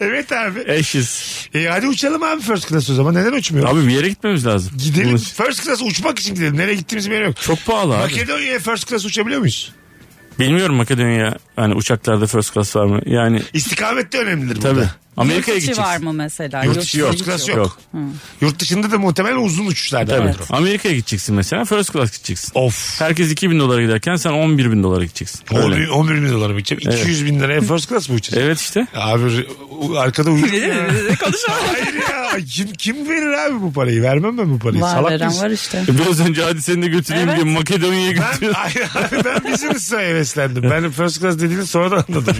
Speaker 1: Evet abi.
Speaker 2: Eşiz.
Speaker 1: E, hadi uçalım abi first class o zaman. Neden uçmuyoruz?
Speaker 2: Abi bir yere gitmemiz lazım.
Speaker 1: Gidelim.
Speaker 2: Bunun-
Speaker 1: First class uçmak için gidelim. Nereye gittiğimiz belli yok.
Speaker 2: Çok pahalı abi.
Speaker 1: Makedonya'ya first class uçabiliyor muyuz?
Speaker 2: Bilmiyorum Makedonya hani uçaklarda first class var mı? Yani
Speaker 1: İstikamet de önemlidir
Speaker 2: tabii.
Speaker 1: burada.
Speaker 2: Amerika'ya
Speaker 7: Yurt içi
Speaker 2: gideceksin.
Speaker 7: var mı mesela?
Speaker 1: Yurt dışı yok. First
Speaker 7: içi
Speaker 1: class yok. Yurt dışında da muhtemelen uzun uçuşlarda
Speaker 2: Tabii.
Speaker 1: vardır o.
Speaker 2: Amerika'ya gideceksin mesela first class gideceksin.
Speaker 1: Of.
Speaker 2: Herkes 2000 dolara giderken sen 11 bin dolara gideceksin. Öyle.
Speaker 1: 11, 11 bin dolara mı gideceğim?
Speaker 2: Evet.
Speaker 1: 200 bin liraya first class mı uçacağız?
Speaker 2: Evet işte.
Speaker 1: Abi u- arkada uyuyor. Hayır ya kim, kim verir abi bu parayı? Vermem ben bu parayı.
Speaker 7: Var
Speaker 1: Salak
Speaker 7: veren
Speaker 1: mısın?
Speaker 7: var işte.
Speaker 2: Biraz önce hadi seni de götüreyim diye Makedonya'ya
Speaker 1: Ben,
Speaker 2: götürüyorsun.
Speaker 1: hayır, abi ben business'a heveslendim. Ben first class dediğini sonra da anladım.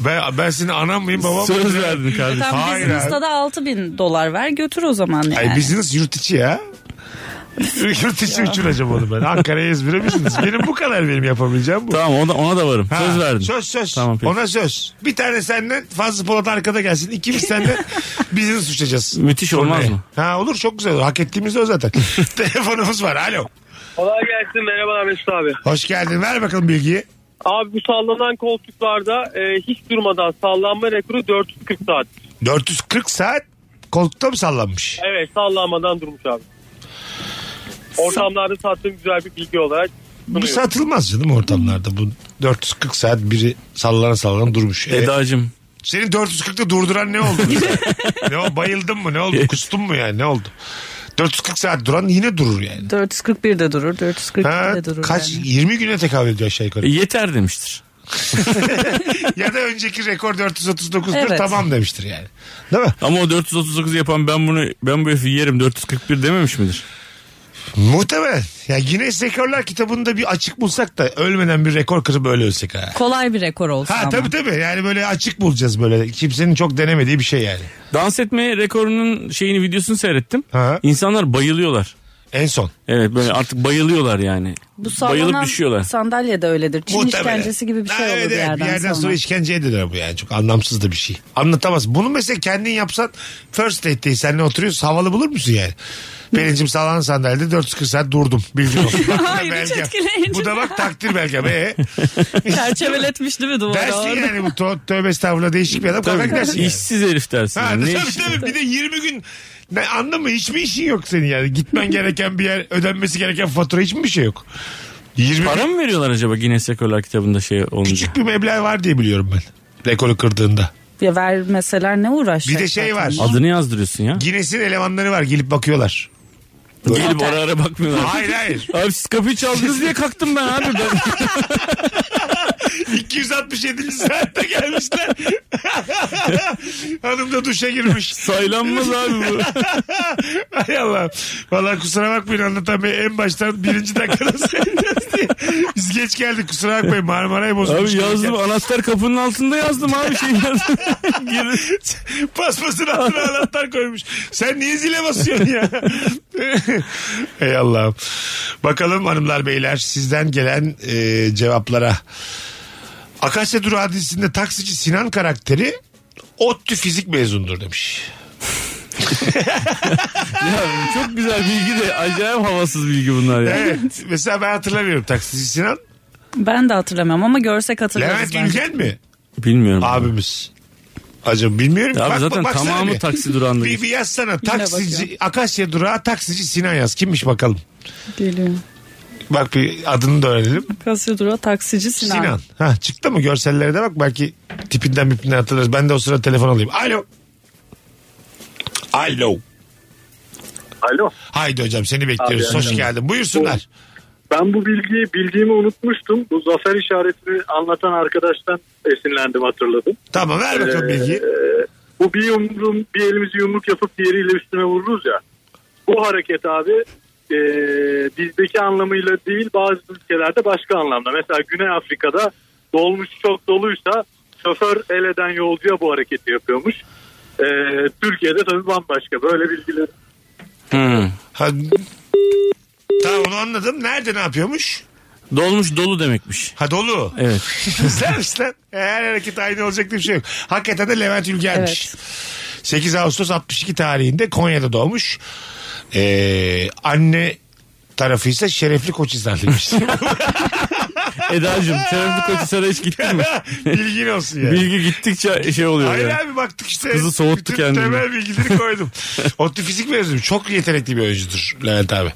Speaker 1: ben, ben senin anam mıyım babam mıyım?
Speaker 2: Söz verdin kardeşim.
Speaker 7: Tam
Speaker 1: Hayır
Speaker 7: business'ta da 6000 dolar ver götür o zaman yani.
Speaker 1: Ay business yurt içi ya. yurt içi uçuracağım onu ben. Ankara'ya İzmir'e business. Benim bu kadar benim yapabileceğim bu.
Speaker 2: Tamam ona, ona da varım.
Speaker 1: Ha,
Speaker 2: Söz verdim.
Speaker 1: Söz söz.
Speaker 2: Tamam peki.
Speaker 1: Ona söz. Bir tane senden Fazlı Polat arkada gelsin. İkimiz senden business uçacağız.
Speaker 2: Müthiş olmaz
Speaker 1: Turneye.
Speaker 2: mı?
Speaker 1: Ha olur çok güzel olur. Hak ettiğimiz de o zaten. Telefonumuz var. Alo.
Speaker 17: Kolay gelsin. Merhabalar Mesut abi.
Speaker 1: Hoş geldin. Ver bakalım bilgiyi.
Speaker 17: Abi bu sallanan koltuklarda e, hiç durmadan sallanma rekoru 440 saat.
Speaker 1: 440 saat koltukta mı sallanmış?
Speaker 17: Evet sallanmadan durmuş abi. Ortamlarda sattığım güzel bir bilgi olarak
Speaker 1: Bu satılmaz canım ortamlarda. Bu 440 saat biri sallana sallana durmuş.
Speaker 2: E,
Speaker 1: Evet.
Speaker 2: Eda'cığım.
Speaker 1: Senin 440'ta durduran ne oldu? ne o bayıldın mı? Ne oldu? Kustun mu yani? Ne oldu? 440 saat duran yine durur yani.
Speaker 7: 441 de durur, 442
Speaker 1: Ha,
Speaker 7: de durur.
Speaker 1: kaç
Speaker 7: yani.
Speaker 1: 20 güne tekabül ediyor aşağı yukarı.
Speaker 2: E, yeter demiştir.
Speaker 1: ya da önceki rekor 439'dur
Speaker 7: Evet.
Speaker 1: tamam demiştir yani. Değil mi?
Speaker 2: Ama o 439 yapan ben bunu ben bu herifi yerim 441 dememiş midir?
Speaker 1: Muhtemelen. Ya Guinness Rekorlar kitabında bir açık bulsak da ölmeden bir rekor kırıp öyle ölsek ha.
Speaker 7: Kolay bir rekor olsun
Speaker 1: Ha
Speaker 7: ama.
Speaker 1: tabii tabii yani böyle açık bulacağız böyle. Kimsenin çok denemediği bir şey yani.
Speaker 2: Dans etme rekorunun şeyini videosunu seyrettim. İnsanlar bayılıyorlar.
Speaker 1: En son.
Speaker 2: Evet böyle artık bayılıyorlar yani.
Speaker 7: Bu sallanan
Speaker 2: Bayılıp düşüyorlar.
Speaker 7: sandalye de öyledir. Çin
Speaker 1: Muhtemelen.
Speaker 7: işkencesi gibi bir
Speaker 1: Ha,
Speaker 7: şey olur
Speaker 1: evet,
Speaker 7: bir
Speaker 1: evet.
Speaker 7: yerden,
Speaker 1: bir yerden sonra.
Speaker 7: sonra.
Speaker 1: işkenceye döner bu yani. Çok anlamsız da bir şey. Anlatamaz. Bunu mesela kendin yapsan first date değil. Seninle oturuyorsun havalı bulur musun yani? Pelincim sağlanan sandalyede 440 saat durdum. Bilgin olsun. Bak, bu da
Speaker 7: Hayır, hiç
Speaker 1: belgem.
Speaker 7: etkileyici.
Speaker 1: Bu da bak takdir belgem. Ee?
Speaker 7: Çerçeveletmiş değil mi duvara?
Speaker 1: Dersin
Speaker 7: orada?
Speaker 1: yani bu to- tövbe estağfurullah değişik bir adam. Kavga
Speaker 2: Tabii
Speaker 1: gidersin yani.
Speaker 2: işsiz herif dersin.
Speaker 1: Ha,
Speaker 2: yani. Ne
Speaker 1: tabii
Speaker 2: işi-
Speaker 1: tabii bir de 20 gün ne, anlamı hiçbir işin yok senin yani. Gitmen gereken bir yer ödenmesi gereken fatura hiçbir bir şey yok. 20
Speaker 2: Para mı veriyorlar acaba Guinness Rekorlar kitabında şey olunca?
Speaker 1: küçük bir meblağ var diye biliyorum ben. Rekoru kırdığında.
Speaker 7: Ya vermeseler ne uğraşacak?
Speaker 1: Bir de şey
Speaker 7: zaten?
Speaker 1: var.
Speaker 2: Adını yazdırıyorsun ya.
Speaker 1: Guinness'in elemanları var gelip bakıyorlar.
Speaker 2: Gelip ara ara bakmıyorlar.
Speaker 1: Hayır, hayır.
Speaker 2: Abi siz kapıyı çaldınız diye kalktım ben abi. Ben...
Speaker 1: 267. saatte gelmişler. Hanım da duşa girmiş.
Speaker 2: Saylanmaz abi bu.
Speaker 1: Hay Allah. Valla kusura bakmayın anlatan bey en baştan birinci dakikada söyleyeceğiz diye. Biz geç geldik kusura bakmayın Marmara'yı bozmuş.
Speaker 2: Abi yazdım anahtar kapının altında yazdım abi şey yazdım.
Speaker 1: Paspasın altına anahtar koymuş. Sen niye zile basıyorsun ya? Ey Allah'ım. Bakalım hanımlar beyler sizden gelen e, cevaplara. Akasya Durağı dizisinde taksici Sinan karakteri ODTÜ fizik mezunudur demiş.
Speaker 2: ya çok güzel bilgi de acayip havasız bilgi bunlar ya.
Speaker 1: Evet. Mesela ben hatırlamıyorum taksici Sinan.
Speaker 7: Ben de hatırlamıyorum ama görsek hatırlarız.
Speaker 1: Levent
Speaker 7: bence.
Speaker 1: Ülgen mi?
Speaker 2: Bilmiyorum.
Speaker 1: Abimiz. Acaba bilmiyorum.
Speaker 2: Ya
Speaker 1: Bak-
Speaker 2: zaten
Speaker 1: baksana
Speaker 2: tamamı
Speaker 1: bir.
Speaker 2: taksi durağında
Speaker 1: Bir,
Speaker 2: geçti.
Speaker 1: bir yazsana.
Speaker 2: Yine
Speaker 1: Taksici,
Speaker 2: bakıyor.
Speaker 1: Akasya durağı taksici Sinan yaz. Kimmiş bakalım.
Speaker 7: Geliyor.
Speaker 1: Bak bir adını da öğrenelim.
Speaker 7: Kasya durağı taksici Sinan.
Speaker 1: Sinan. Ha, çıktı mı? Görsellere de bak. Belki tipinden bipinden hatırlarız. Ben de o sırada telefon alayım. Alo. Alo.
Speaker 18: Alo.
Speaker 1: Haydi hocam seni bekliyoruz.
Speaker 18: Abi,
Speaker 1: Hoş
Speaker 18: hocam.
Speaker 1: geldin. Buyursunlar.
Speaker 18: Ben bu bilgiyi bildiğimi unutmuştum. Bu zafer işaretini anlatan arkadaştan esinlendim hatırladım. Ee,
Speaker 1: Tamam ver bakalım bilgiyi.
Speaker 12: Ee,
Speaker 18: Bu bir yumruğum, bir elimizi yumruk yapıp diğeriyle üstüne vururuz ya. Bu hareket abi e, bizdeki anlamıyla değil bazı ülkelerde başka anlamda. Mesela Güney Afrika'da dolmuş çok doluysa şoför el eden yolcuya bu hareketi yapıyormuş. E, Türkiye'de tabii bambaşka böyle bilgiler.
Speaker 1: Ha, tamam onu anladım. Nerede ne yapıyormuş?
Speaker 2: Dolmuş dolu demekmiş.
Speaker 1: Ha dolu.
Speaker 2: Evet.
Speaker 1: Güzelmiş lan. E, Her hareket aynı olacak diye bir şey yok. Hakikaten de Levent Ülgen'miş. 8 Ağustos 62 tarihinde Konya'da doğmuş. Ee, anne tarafı ise Şerefli Koçhisarlıymış.
Speaker 2: Eda'cığım Şerefli Koçhisar'a hiç gittin mi?
Speaker 1: Bilgin olsun yani.
Speaker 2: Bilgi gittikçe şey oluyor
Speaker 1: Hayır
Speaker 2: ya.
Speaker 1: abi baktık işte.
Speaker 2: Kızı soğuttu
Speaker 1: Bütün
Speaker 2: kendini.
Speaker 1: Temel bilgileri koydum. Otlu fizik mezunu. Çok yetenekli bir oyuncudur Levent abi.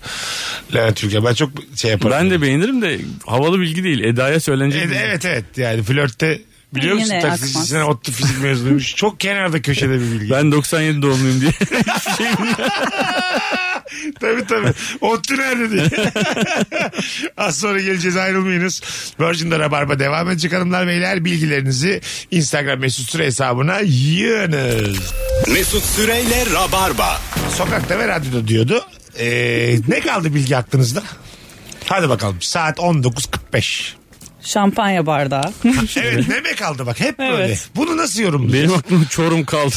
Speaker 1: Levent Türkiye. Ben çok şey yaparım.
Speaker 2: Ben de beğenirim de havalı bilgi değil. Eda'ya söylenecek.
Speaker 1: Evet,
Speaker 2: bilgi.
Speaker 1: evet evet yani flörtte biliyor
Speaker 2: Yine
Speaker 1: musun
Speaker 2: akmaz.
Speaker 1: taksicisine otlu fizik mezunuymuş. Çok kenarda köşede bir bilgi.
Speaker 2: Ben 97 doğumluyum diye. Hiçbir şey bilmiyorum.
Speaker 1: tabii tabii. Otlu nerede diye. Az sonra geleceğiz ayrılmayınız. Virgin'de Rabarba devam edecek hanımlar beyler. Bilgilerinizi Instagram mesut süre hesabına yığınız.
Speaker 6: Mesut Süreyle Rabarba.
Speaker 1: Sokakta ve radyoda diyordu. Ee, ne kaldı bilgi aklınızda? Hadi bakalım saat 19.45.
Speaker 7: Şampanya bardağı.
Speaker 1: Evet neme kaldı bak hep böyle.
Speaker 7: Evet.
Speaker 1: Bunu nasıl yorumluyorsun?
Speaker 2: Benim aklım çorum kaldı.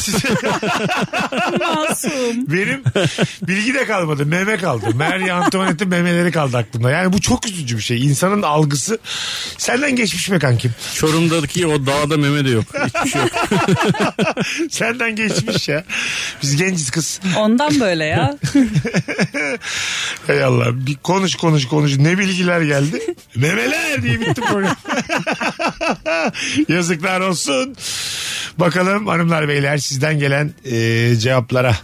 Speaker 7: Masum.
Speaker 1: Benim bilgi de kalmadı. Meme kaldı. Mary Antoinette'in memeleri kaldı aklımda. Yani bu çok üzücü bir şey. İnsanın algısı senden geçmiş mi kankim?
Speaker 2: Çorum'daki o dağda meme de yok. Hiçbir şey yok.
Speaker 1: senden geçmiş ya. Biz genciz kız.
Speaker 7: Ondan böyle ya.
Speaker 1: Hay Allah. Bir konuş konuş konuş. Ne bilgiler geldi? Memeler diye bitti program. Yazıklar olsun. Bakalım hanımlar beyler sizden gelen e, cevaplara.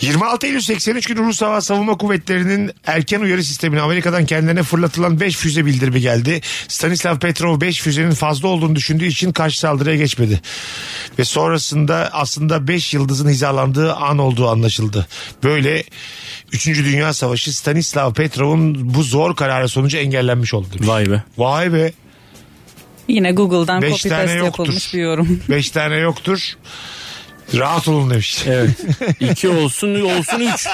Speaker 1: 26 Eylül 83 günü Rus Hava Savunma Kuvvetleri'nin erken uyarı sistemine Amerika'dan kendilerine fırlatılan 5 füze bildirimi geldi. Stanislav Petrov 5 füzenin fazla olduğunu düşündüğü için karşı saldırıya geçmedi. Ve sonrasında aslında 5 yıldızın hizalandığı an olduğu anlaşıldı. Böyle 3. Dünya Savaşı Stanislav Petrov'un bu zor kararı sonucu engellenmiş oldu. demiş.
Speaker 2: Vay be.
Speaker 1: Vay be.
Speaker 7: Yine Google'dan
Speaker 1: Beş
Speaker 7: copy
Speaker 1: tane
Speaker 7: paste
Speaker 1: yoktur.
Speaker 7: yapılmış bir yorum.
Speaker 1: 5 tane yoktur. Rahat olun demiş.
Speaker 2: Evet. İki olsun olsun üç.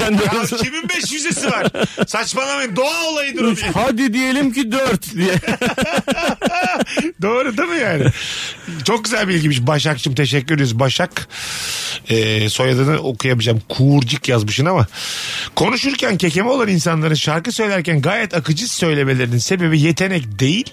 Speaker 1: Ya kimin 5 yüzesi var? Saçmalamayın. Doğa olayıdır o diye.
Speaker 2: Hadi diyelim ki dört diye.
Speaker 1: Doğru değil mi yani? Çok güzel bilgiymiş. Başak'cığım teşekkür ederiz. Başak e, soyadını okuyamayacağım. Kuğurcik yazmışsın ama. Konuşurken kekeme olan insanların şarkı söylerken gayet akıcı söylemelerinin sebebi yetenek değil.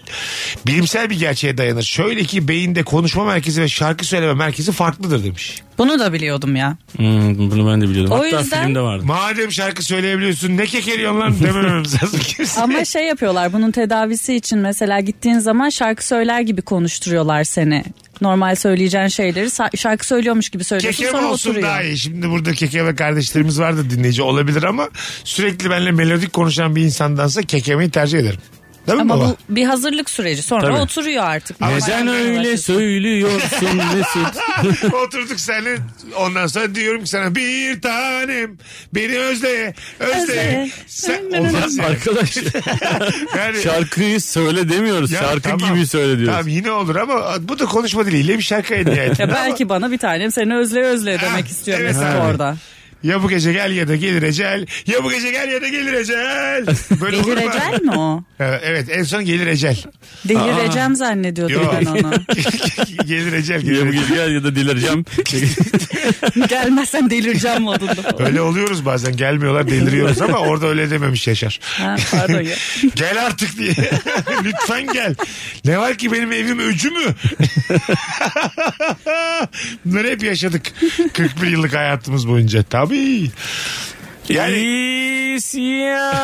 Speaker 1: Bilimsel bir gerçeğe dayanır. Şöyle ki beyinde konuşma merkezi ve şarkı söyleme merkezi farklıdır demiş.
Speaker 7: Bunu da biliyordum ya.
Speaker 2: Hmm, bunu ben de biliyordum.
Speaker 7: O
Speaker 2: Hatta
Speaker 7: yüzden-
Speaker 2: filmde vardı.
Speaker 1: Madem şarkı söyleyebiliyorsun ne kekeliyorsun lan demememiz lazım.
Speaker 7: Ama şey yapıyorlar bunun tedavisi için mesela gittiğin zaman şarkı söyler gibi konuşturuyorlar seni. Normal söyleyeceğin şeyleri sa- şarkı söylüyormuş gibi söylüyorsun
Speaker 1: Kekeme
Speaker 7: sonra
Speaker 1: olsun
Speaker 7: oturuyor.
Speaker 1: daha iyi. Şimdi burada kekeme kardeşlerimiz vardı dinleyici olabilir ama sürekli benimle melodik konuşan bir insandansa kekemeyi tercih ederim. Değil mi
Speaker 7: Ama
Speaker 1: baba?
Speaker 7: bu bir hazırlık süreci. Sonra
Speaker 1: Tabii.
Speaker 7: oturuyor artık.
Speaker 1: Neden öyle
Speaker 2: söylüyorsun Mesut?
Speaker 1: Oturduk seninle ondan sonra diyorum ki sana bir tanem beni özleye özleye.
Speaker 2: Özleye.
Speaker 1: Sen
Speaker 2: Olmaz
Speaker 1: olmaz yani.
Speaker 2: arkadaş. Şarkıyı söyle demiyoruz.
Speaker 1: Ya
Speaker 2: Şarkı
Speaker 1: tamam.
Speaker 2: gibi söyle diyoruz.
Speaker 1: Tamam yine olur ama bu da konuşma diliyle bir şarkı nihayetinde.
Speaker 7: Ya
Speaker 1: ama-
Speaker 7: belki bana bir tanem seni özle özle demek istiyor
Speaker 1: evet
Speaker 7: Mesut
Speaker 1: abi.
Speaker 7: orada.
Speaker 1: Ya bu gece gel ya da gelir ecel. Ya bu gece gel ya da gelir ecel. Böyle olur
Speaker 7: Gelir
Speaker 1: mu?
Speaker 7: ecel mi o?
Speaker 1: Ha, Evet en son gelir ecel.
Speaker 7: Delireceğim zannediyordum
Speaker 1: Yok.
Speaker 7: ben onu.
Speaker 1: Aa, gelir ecel. Gelir
Speaker 2: Ya bu
Speaker 1: ecel.
Speaker 2: gece gel ya da delireceğim.
Speaker 7: Gelmezsen delireceğim modunda.
Speaker 1: Öyle oluyoruz bazen gelmiyorlar deliriyoruz ama orada öyle dememiş Yaşar.
Speaker 7: Ha, pardon ya.
Speaker 1: gel artık diye. Lütfen gel. Ne var ki benim evim öcü mü? Bunları hep yaşadık. 41 yıllık hayatımız boyunca. Tabii. Yani
Speaker 2: İsyan.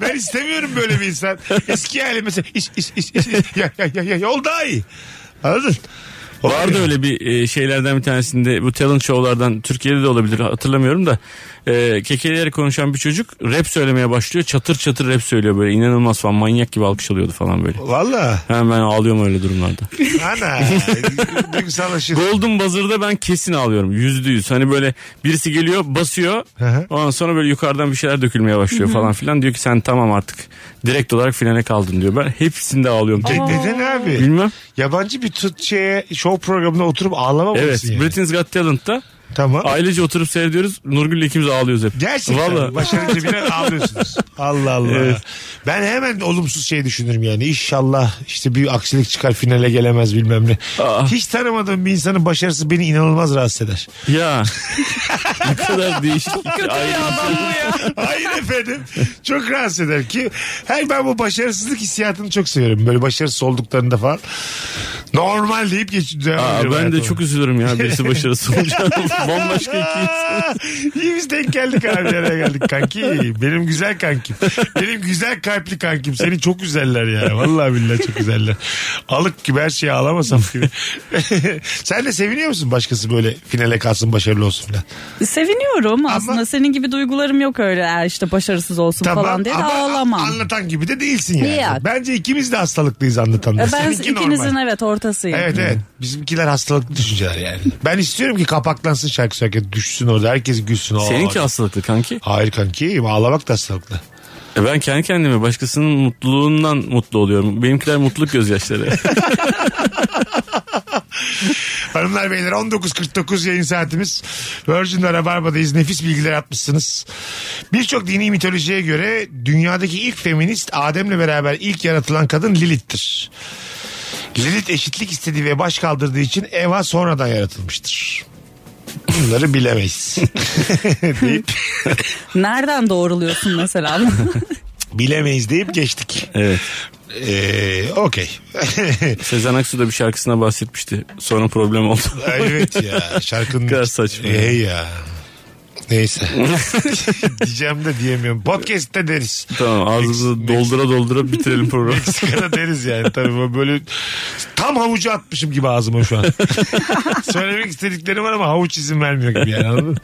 Speaker 1: ben istemiyorum böyle bir insan. Eski hali mesela iş iş iş iş. iş. Ya, ya, ya, ya, yol daha iyi. Anladın?
Speaker 2: Vardı öyle bir e, şeylerden bir tanesinde bu talent show'lardan Türkiye'de de olabilir hatırlamıyorum da e, kekeleyerek konuşan bir çocuk rap söylemeye başlıyor çatır çatır rap söylüyor böyle inanılmaz falan manyak gibi alkış alıyordu falan böyle.
Speaker 1: Valla.
Speaker 2: Hemen ağlıyorum öyle durumlarda.
Speaker 1: Ana. Duygusallaşır.
Speaker 2: Golden Buzzer'da ben kesin ağlıyorum yüzde yüz hani böyle birisi geliyor basıyor ondan sonra böyle yukarıdan bir şeyler dökülmeye başlıyor
Speaker 1: Hı hı.
Speaker 2: falan filan diyor ki sen tamam artık direkt olarak finale kaldın diyor ben hepsinde ağlıyorum.
Speaker 1: Ne- E, neden abi?
Speaker 2: Bilmem.
Speaker 1: Yabancı bir tut şeye, show programına oturup ağlama
Speaker 2: Evet
Speaker 1: yani.
Speaker 2: Britain's Got Talent'ta
Speaker 1: Tamam.
Speaker 2: Ailece oturup seyrediyoruz. Nurgül'le ikimiz ağlıyoruz hep.
Speaker 1: Gerçekten
Speaker 2: Vallahi.
Speaker 1: başarınca bile ağlıyorsunuz. Allah Allah.
Speaker 2: Evet.
Speaker 1: Ben hemen olumsuz şey düşünürüm yani. İnşallah işte bir aksilik çıkar finale gelemez bilmem ne.
Speaker 2: Ah.
Speaker 1: Hiç tanımadığım bir insanın başarısı beni inanılmaz rahatsız eder.
Speaker 2: Ya. ne kadar değişik. Ayrı bir şey.
Speaker 1: Hayır efendim. Çok rahatsız eder ki. Her ben bu başarısızlık hissiyatını çok seviyorum. Böyle başarısız olduklarında falan. Normal deyip geçiyor.
Speaker 2: Aa, ben de çok üzülürüm ya birisi başarısız olunca. Bambaşka
Speaker 1: iki İyi biz denk geldik abi yere geldik kanki. Benim güzel kankim. Benim güzel kalpli kankim. Seni çok güzeller ya. Vallahi billahi çok güzeller. Alık gibi her şeyi ağlamasam gibi. Sen de seviniyor musun başkası böyle finale kalsın başarılı olsun falan?
Speaker 7: Seviniyorum aslında. Senin gibi duygularım yok öyle "Ee, işte başarısız olsun falan diye de
Speaker 1: ama
Speaker 7: ağlamam.
Speaker 1: Anlatan gibi de değilsin yani.
Speaker 7: Yok.
Speaker 1: Bence ikimiz de hastalıklıyız anlatanlar.
Speaker 7: E ben
Speaker 1: Seninki
Speaker 7: ikinizin
Speaker 1: normal.
Speaker 7: evet ortasıyım.
Speaker 1: Evet evet. Bizimkiler hastalıklı düşünceler yani. Ben istiyorum ki kapaklansın şarkı söylerken düşsün orada. Herkes gülsün. Aa,
Speaker 2: Seninki hastalıklı kanki.
Speaker 1: Hayır kanki ağlamak da hastalıklı.
Speaker 2: E Ben kendi kendime başkasının mutluluğundan mutlu oluyorum. Benimkiler mutluluk gözyaşları.
Speaker 1: Hanımlar beyler 19.49 yayın saatimiz. Virgin'de Rabarba'dayız. Nefis bilgiler atmışsınız. Birçok dini mitolojiye göre dünyadaki ilk feminist Adem'le beraber ilk yaratılan kadın Lilith'tir. Lilith eşitlik istediği ve baş kaldırdığı için Eva sonradan yaratılmıştır. Bunları bilemeyiz. deyip,
Speaker 7: Nereden doğruluyorsun mesela?
Speaker 1: bilemeyiz deyip geçtik.
Speaker 2: evet.
Speaker 1: Ee, Okey.
Speaker 2: Sezen Aksu da bir şarkısına bahsetmişti. Sonra problem oldu.
Speaker 1: evet ya şarkının.
Speaker 2: Kadar saçma.
Speaker 1: Ey ya. Neyse. Diyeceğim de diyemiyorum. Podcast'te deriz.
Speaker 2: Tamam ağzımızı doldura doldura bitirelim programı.
Speaker 1: Meksika'da deriz yani. Tabii bu böyle tam havucu atmışım gibi ağzıma şu an. Söylemek istediklerim var ama havuç izin vermiyor gibi yani anladın mı?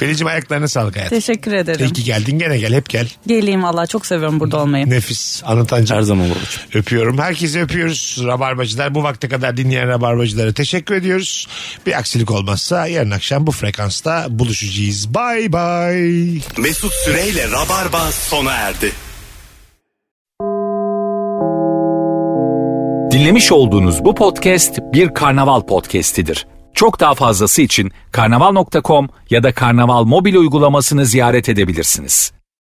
Speaker 1: Pelin'cim ayaklarına sağlık hayatım.
Speaker 7: Teşekkür ederim.
Speaker 1: İyi ki geldin gene gel hep gel.
Speaker 7: Geleyim valla çok seviyorum burada olmayı.
Speaker 1: Nefis anlatancı. Her
Speaker 2: zaman babacığım.
Speaker 1: Öpüyorum. Herkesi öpüyoruz. Rabarbacılar bu vakte kadar dinleyen rabarbacılara teşekkür ediyoruz. Bir aksilik olmazsa yarın akşam bu frekansta buluşacağız. Bye bye.
Speaker 6: Mesut Süreyle Rabarba sona erdi.
Speaker 19: Dinlemiş olduğunuz bu podcast bir karnaval podcastidir. Çok daha fazlası için karnaval.com ya da karnaval mobil uygulamasını ziyaret edebilirsiniz.